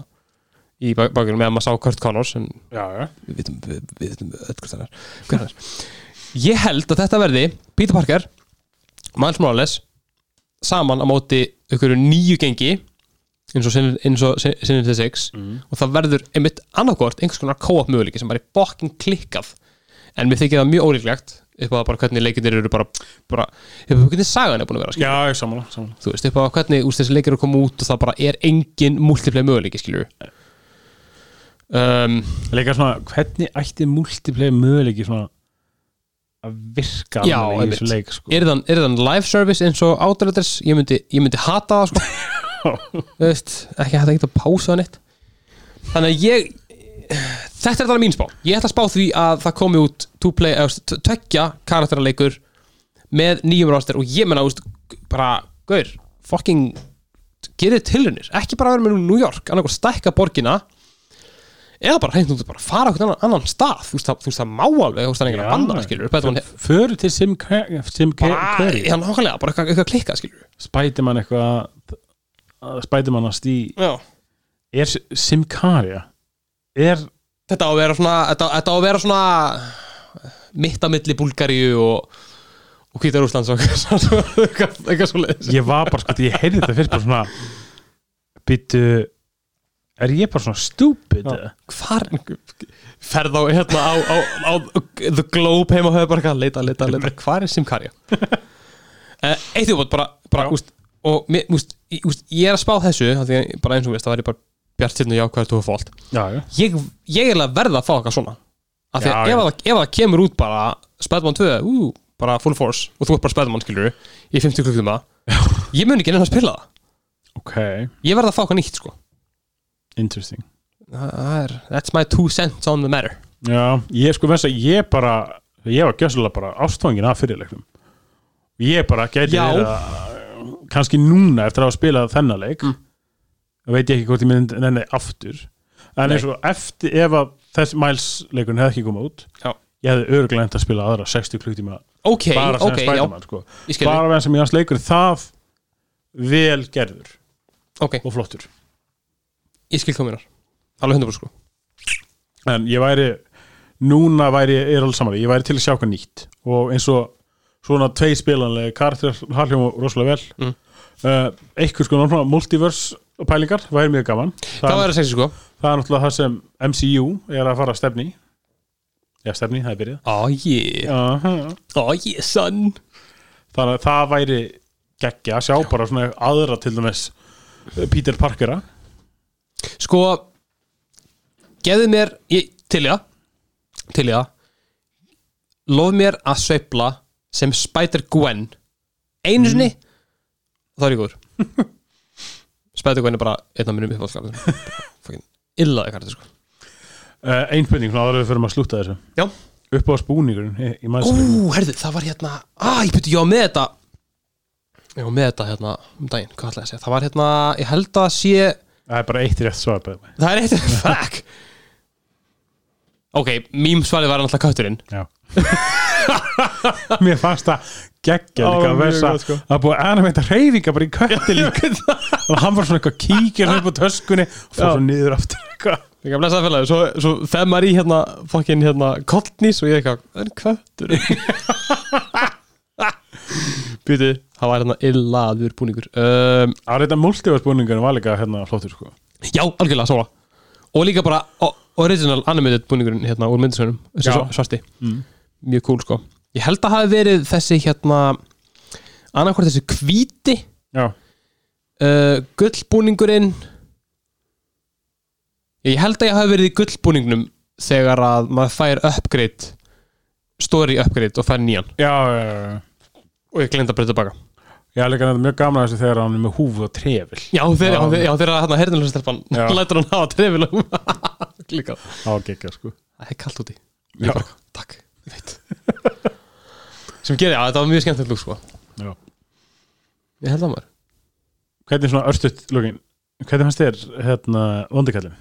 S1: í bakgrunum, meðan maður sá Kurt Connors en
S2: já, já,
S1: við vitum, við, við vitum öll hvort það er hver hann er ég held að þetta verði Peter Parker Miles Morales saman á móti ykkur nýju gengi eins og Sin- eins og Sin- Sin- Sin- 6
S2: Mm.
S1: og það verður einmitt annarkort einhvers konar co-op möguleiki sem bara er bokkin klikkað en mér þykir það mjög ólíklegt upp á það bara hvernig leikindir eru bara, bara upp á hvernig sagan er búin að vera skilur.
S2: já, ég sammála, sammála.
S1: þú veist, upp á hvernig úst þessi leikir eru að koma út og það bara er engin multiplayer möguleiki skilur um,
S2: Leika svona, hvernig ætti multiplayer möguleiki svona að virka
S1: Já,
S2: alveg í
S1: einmitt.
S2: þessu leik sko.
S1: er þann, er þann live service eins og Outriders ég myndi, ég myndi hata það sko Þú veist, ekki hægt að geta að pása hann eitt þannig að ég þetta er þannig mín spá, ég ætla að spá því að það komi út two play, eða, þú veist, tveggja karakterarleikur með nýjum roster og ég menna, þú veist, bara gaur, fucking gerið tilunir, ekki bara vera með New York, annarkoð stækka borgina eða bara hreint út að bara fara okkur annan, annan stað þú veist það, þú veist það má alveg, þú veist það er enginn að banna það, skilur betur hann
S2: Föru til Sim Car- Sim Car-
S1: bara,
S2: Curry
S1: já nákvæmlega, bara eitthvað, eitthvað klikka skilur
S2: Spiderman eitthvað Spiderman að stí
S1: já.
S2: Er Simkaria Er
S1: þetta á að vera svona þetta, þetta á að vera svona eh, mitt á milli Búlgaríu og og hvítar Úslands og eitthvað, eitthvað svo leiðis
S2: ég var bara sko, ég heyrði þetta fyrst bara svona byttu er ég bara svona stúpid eða?
S1: hvar ferð á, hérna, á, á, á The Globe heima og hefur bara eitthvað að leita, leita, leita hvar er Simkarja eitt yfirbót bara, bara úst, og mér, úst, í- úst, ég er að spá þessu af því að bara eins og þú veist það væri bara bjart hérna sérna jákvæður tóðu fólt
S2: já, já,
S1: ég, ég er alveg að verða að fá eitthvað svona af því
S2: Já,
S1: að
S2: já.
S1: ef, að, ef að það kemur út bara Spedman 2, ú, bara full force og þú ert bara Spedman, skilur í 50 klukkutíma ég mun ekki nefn að spila það
S2: ok,
S1: ég verða að fá eitthvað nýtt, sko
S2: interesting
S1: Það er, that's my two cents on the matter
S2: já, ég sko veist að ég bara ég var gjössalega bara ástfangin af fyrirleiknum ég bara gæti
S1: Já.
S2: verið að kannski núna eftir að hafa spilað þennan leik
S1: Mm.
S2: veit ég ekki hvort ég myndi nenni aftur en
S1: Nei.
S2: eins og eftir ef að þessi Miles leikun hefði ekki komað út
S1: Já.
S2: ég hefði örgulega enda að spila aðra 60 klukktíma
S1: ok,
S2: bara sem
S1: ok, já,
S2: Spiderman sko.
S1: ég skil
S2: bara vegna sem ég hans leikur er það vel gerður
S1: ok,
S2: og flottur
S1: ég skil kominar alveg 100% sko
S2: en ég væri, núna væri ég er alveg samanlega, ég væri til að sjá hvað nýtt og eins og svona tvei spilanlega karakter haljóma rosalega vel
S1: Mm.
S2: uh, eitthvað sko náttúrulega multiverse pælingar, væri mjög gaman
S1: hvað var
S2: það,
S1: það að segja sko?
S2: það er náttúrulega það sem MCU er að fara að stefni í. já stefni, það er byrjað
S1: oh yeah,
S2: uh -huh.
S1: oh yeah son
S2: þannig að það væri geggja að sjá bara svona aðra til dæmis eh, Peter Parkera
S1: Sko Geðu mér ég, Til ég Til ég Lof mér að sveifla sem Spider-Gwen Einu sinni og þá er ég góður Spider-Gwen er bara einn af mínum uppáðskar Fucking illaði kartu sko
S2: Uh, ein spurning, svona aðra við förum að slúta þessu
S1: Já
S2: upp á spúningurinn í, í
S1: Ó,
S2: maður
S1: herðu, það var hérna Æ, ég byrju, ég var með þetta Ég var með þetta hérna um daginn, hvað ætlaði að segja Það var hérna, ég held að sé
S2: það er bara eitt rétt svar by the way.
S1: Það er eitt, fuck Ok, mýmsvalið var náttúrulega kötturinn
S2: já mér fannst það geggja
S1: Ó,
S2: líka að
S1: mjög
S2: versa
S1: gott, sko.
S2: það er búið að animeita reyfinga bara í kötti líka og hann var svona eitthvað kíkir upp á töskunni og fór
S1: Já.
S2: svo niður aftur eitthvað
S1: Ég kan blessa það félagi, svo, svo þeim maður í hérna fokkin hérna kottnís og ég eitthvað Það er kvöttur Býtu, það var hérna illaður búningur um,
S2: að þetta multiverse spúningurinn var líka hérna flottur sko
S1: Já, algjörlega, sála Og líka bara o- original animated búningurinn hérna úr myndisönum
S2: Já.
S1: Svarti,
S2: Mm.
S1: mjög cool sko Ég held að hafi verið þessi hérna annarkvort þessi hvíti
S2: já,
S1: uh, gullbúningurinn ég held að ég hafi verið í gullbúningnum þegar að maður fær upgrade story upgrade og fær nýjan
S2: já, já, já, já.
S1: og ég glemt að breyta baka
S2: Já, líka þetta mjög gaman að þessu þegar hann er með húfu og trefil
S1: já þegar, já, þegar, já, þegar hérna herðinlöfstelpan
S2: Já.
S1: lætur hann hafa trefilum líka
S2: á geggja sko
S1: það er kallt úti Ég
S2: já,
S1: bara, takk, ég veit sem gerir, já þetta var mjög skemmtilegt lúk sko
S2: já.
S1: ég held að maður
S2: hvernig svona örstuðt lókin hvernig fannst þér hérna vondikallin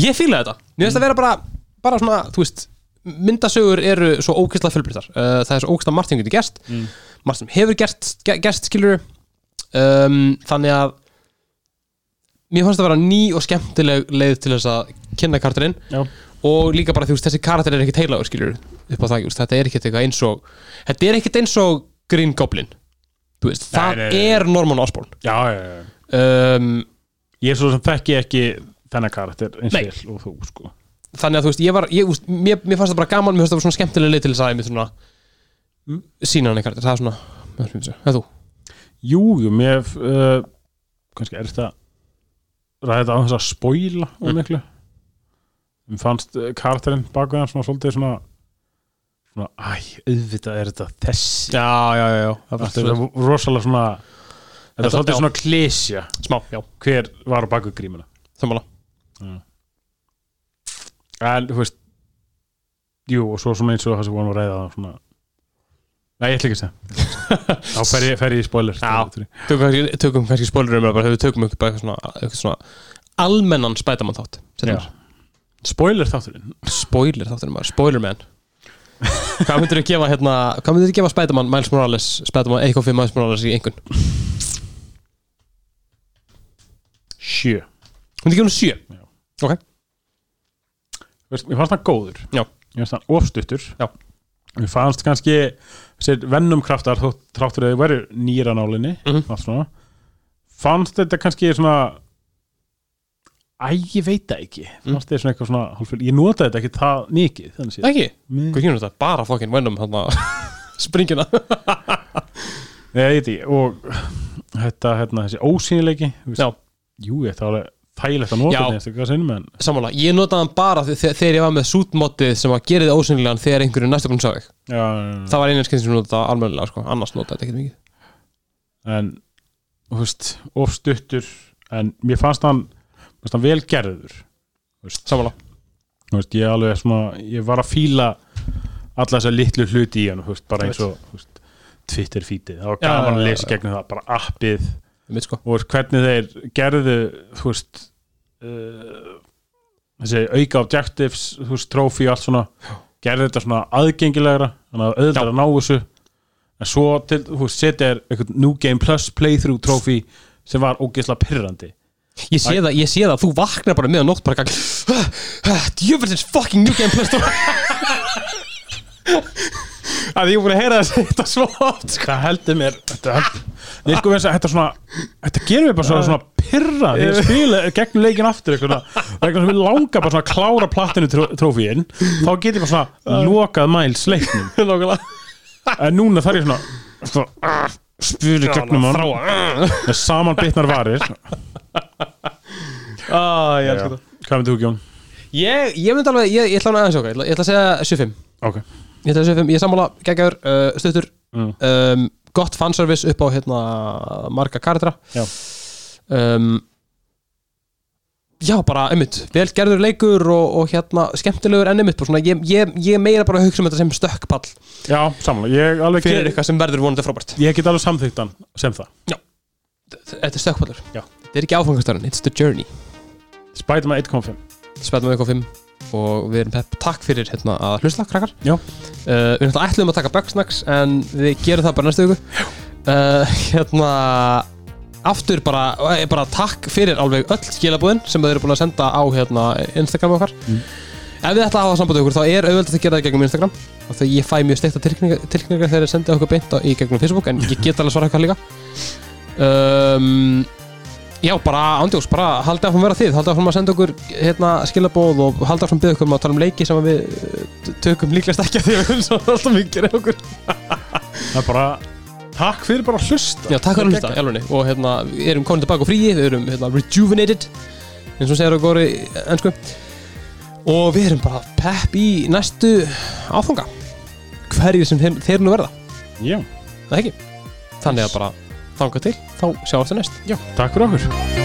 S1: Ég fíla þetta Mér finnst að vera bara, bara svona, þú veist myndasögur eru svo ógeðslega fjölbreyttar uh, það er svo ógeðslega margt sem getur gerst
S2: Mm.
S1: margt sem hefur gerst, ge- gerst skilur um, þannig að mér fannst að vera ný og skemmtileg leið til þess að kynna karakterinn
S2: já,
S1: og líka bara þú veist þessi karakter er ekkit heilagur skilur upp á það, þú veist, þetta er ekkit eitthvað eins og þetta er ekkit eins og Green Goblin þú veist,
S2: Nei,
S1: það
S2: nei, nei, nei.
S1: er Norman Osborn
S2: já, já, já.
S1: um,
S2: ég er svo sem þekki ekki þennan karakter eins
S1: Nei.
S2: vel og þú sko
S1: þannig að þú veist, ég var ég, úst, mér, mér fannst það bara gaman, mér fannst það bara svona skemmtilega leið til þess að ég mér svona
S2: Mm.
S1: sína hann eitthvað, það er svona mér finnst það, eða þú,
S2: jú, jú, mér uh, kannski er þetta ræði þetta á þess að spoila og
S1: Mm.
S2: miklu mér fannst uh, karakterinn baku hann svona svolítið svona svona, æ, auðvitað er þetta þessi
S1: já, já, já, já það var
S2: þetta er rosalega svona þetta
S1: Þetta-
S2: er svolítið
S1: já.
S2: svona klísja
S1: smá, já,
S2: hver var á baku grímuna
S1: sammála
S2: en þú veist jú og svo svona eins og það sem vorum að ræða það svona nei ég ætla ekki að segja þá fer ég, fer ég í spoiler
S1: Já. tökum kannski, um tökum kannski spólurum bara, þegar við tökum eitthvað, bara eitthvað svona, eitthvað svona almennan spætamann þátt
S2: Já.
S1: setjum
S2: spoiler þátturinn
S1: spoiler þátturinn maður, spoiler man hvað myndir þú gefa hérna hvað myndir þú gefa Spiderman, Miles Morales Spiderman, Eiko 5 Miles Morales í einhvern
S2: sjö,
S1: myndir gefa hún 7
S2: Já.
S1: ok,
S2: Veist, mér fannst hann góður
S1: Já.
S2: mér fannst hann ofstuttur
S1: Já.
S2: mér fannst kannski sér, vennum kraftar þó tráttur að þið veru nýra nálinni
S1: Mhm.
S2: allt svona fannst þetta kannski svona æ, ég veit það ekki fannst þetta svona eitthvað svona hálfur, ég notaði þetta ekki það mikið þannig séð
S1: ekki
S2: Mhm. Nei.
S1: hvað kynum þetta, bara fokkin Venom hérna springina
S2: Nei, ég veit ekki, og þetta, hérna, þessi ósýnileiki þú veist,
S1: Já.
S2: Jú, þetta var alveg þægilegt að nota
S1: Já.
S2: þetta hvað sinnum en
S1: sammála, ég notaði hann bara þeg- þeg- þegar ég var með sútmótið sem að gera það ósynlegan þegar einhverju næstu búin sá þig
S2: já, já,
S1: það var einu skinn sem ég notaði almennilega sko. annars notaði þetta ekkert mikið
S2: já. en, þú veist, of stuttur en mér fannst hann, mér fannst hann vel gerður þú veist,
S1: sammála,
S2: þú veist, ég alveg svona, ég var að fíla alla þessa litlu hluti í hann þú veist, bara eins og, þú veist, Twitter feedið, það var
S1: Já,
S2: gaman
S1: já,
S2: að
S1: já,
S2: lesa
S1: já.
S2: gegnum það, bara appið
S1: mitt sko
S2: og veist, hvernig þeir gerðu þú veist uh, þessi auka objectives þú veist, trófi og allt svona gerðu þetta svona aðgengilegra þannig að auðvitað að ná þessu en svo til, þú veist, setja er einhvern New Game Plus playthrough trófi sem var ógeðslega pyrrandi
S1: ég sé, það, ég sé það, þú vaknar bara með að nótt bara gang djöfelsins fucking new game plus að ég voru að heyra þess þetta svo oft sko.
S2: það heldur mér þetta, Nei, sko, vegna þess að þetta, svona, þetta gerir mér bara svona, svona pyrra þegar ég spila gegn leikin aftur einhverna, vegna sem við langar bara svona að klára plattinu tró, trófíin þá get ég bara svona lokað mæl sleiknum
S1: Nákvæmlega.
S2: en núna þarf ég svona, svona ah, spila gegnum hann með saman bitnar varir
S1: ah, ég, elska það.
S2: hvað með þú Gjón?
S1: ég, ég myndi alveg, ég, ég ætla hann aðeins okkar ég ætla, ég ætla að segja 75
S2: ok,
S1: ég ætla að segja 5, ég er sammála, geggjör, uh, stuttur
S2: Mm.
S1: um, gott fanservice upp á hérna marga kardra
S2: Já.
S1: um, já bara, einmitt, vel gerður leikur og, og hérna, skemmtilegur en einmitt bara svona, ég, ég, ég meira bara að hugsa um þetta sem stökkpall
S2: já, samanlega ég, alveg
S1: fyrir
S2: get,
S1: eitthvað sem verður vonandi frábært
S2: ég get alveg samþygt hann sem það
S1: þetta er stökkpallur,
S2: Já.
S1: þetta er ekki áfangastarinn it's the journey,
S2: Spiderman 1.5
S1: spæðum við eitthvað 5 og við erum pepp, takk fyrir hérna að hlusta krakkar
S2: Já.
S1: uh, við erum alltaf ætlum að taka Bugsnax en við gerum það bara næstu viku uh, hérna aftur bara, eh, bara takk fyrir alveg öll skilabúðin sem þau eru búin að senda á hérna, Instagram okkar
S2: Mm.
S1: ef við ætla að hafa samband við ykkur þá er auðvöldast að gera það gegnum Instagram af því að ég fæ mjög steikta tilkynningar tilkynningar þegar ég sendi okkur beint á, í gegnum Facebook en ég get alveg svara eitthvað líka um, Já, bara ándjós, bara haldið áfram að vera þið haldið áfram að senda okkur hérna, skilabóð og haldið áfram að byggja okkur um að tala um leiki sem að við eh, t- tökum líklegast ekki að því að við erum svo alltaf mikið reyð okkur
S2: það er bara takk fyrir bara að hlusta
S1: Já, takk fyrir að hlusta, í alvörunni. og hérna, við erum komin tilbaka á fríi, við erum hérna, rejuvenated eins og segir okkur í ennsku og við erum bara pepp í næstu áfanga hverju sem þeir, þeir nú verða,
S2: já,
S1: það ekki þannig að bara þanga til, þá sjáumst það næst
S2: já, takk fyrir okkur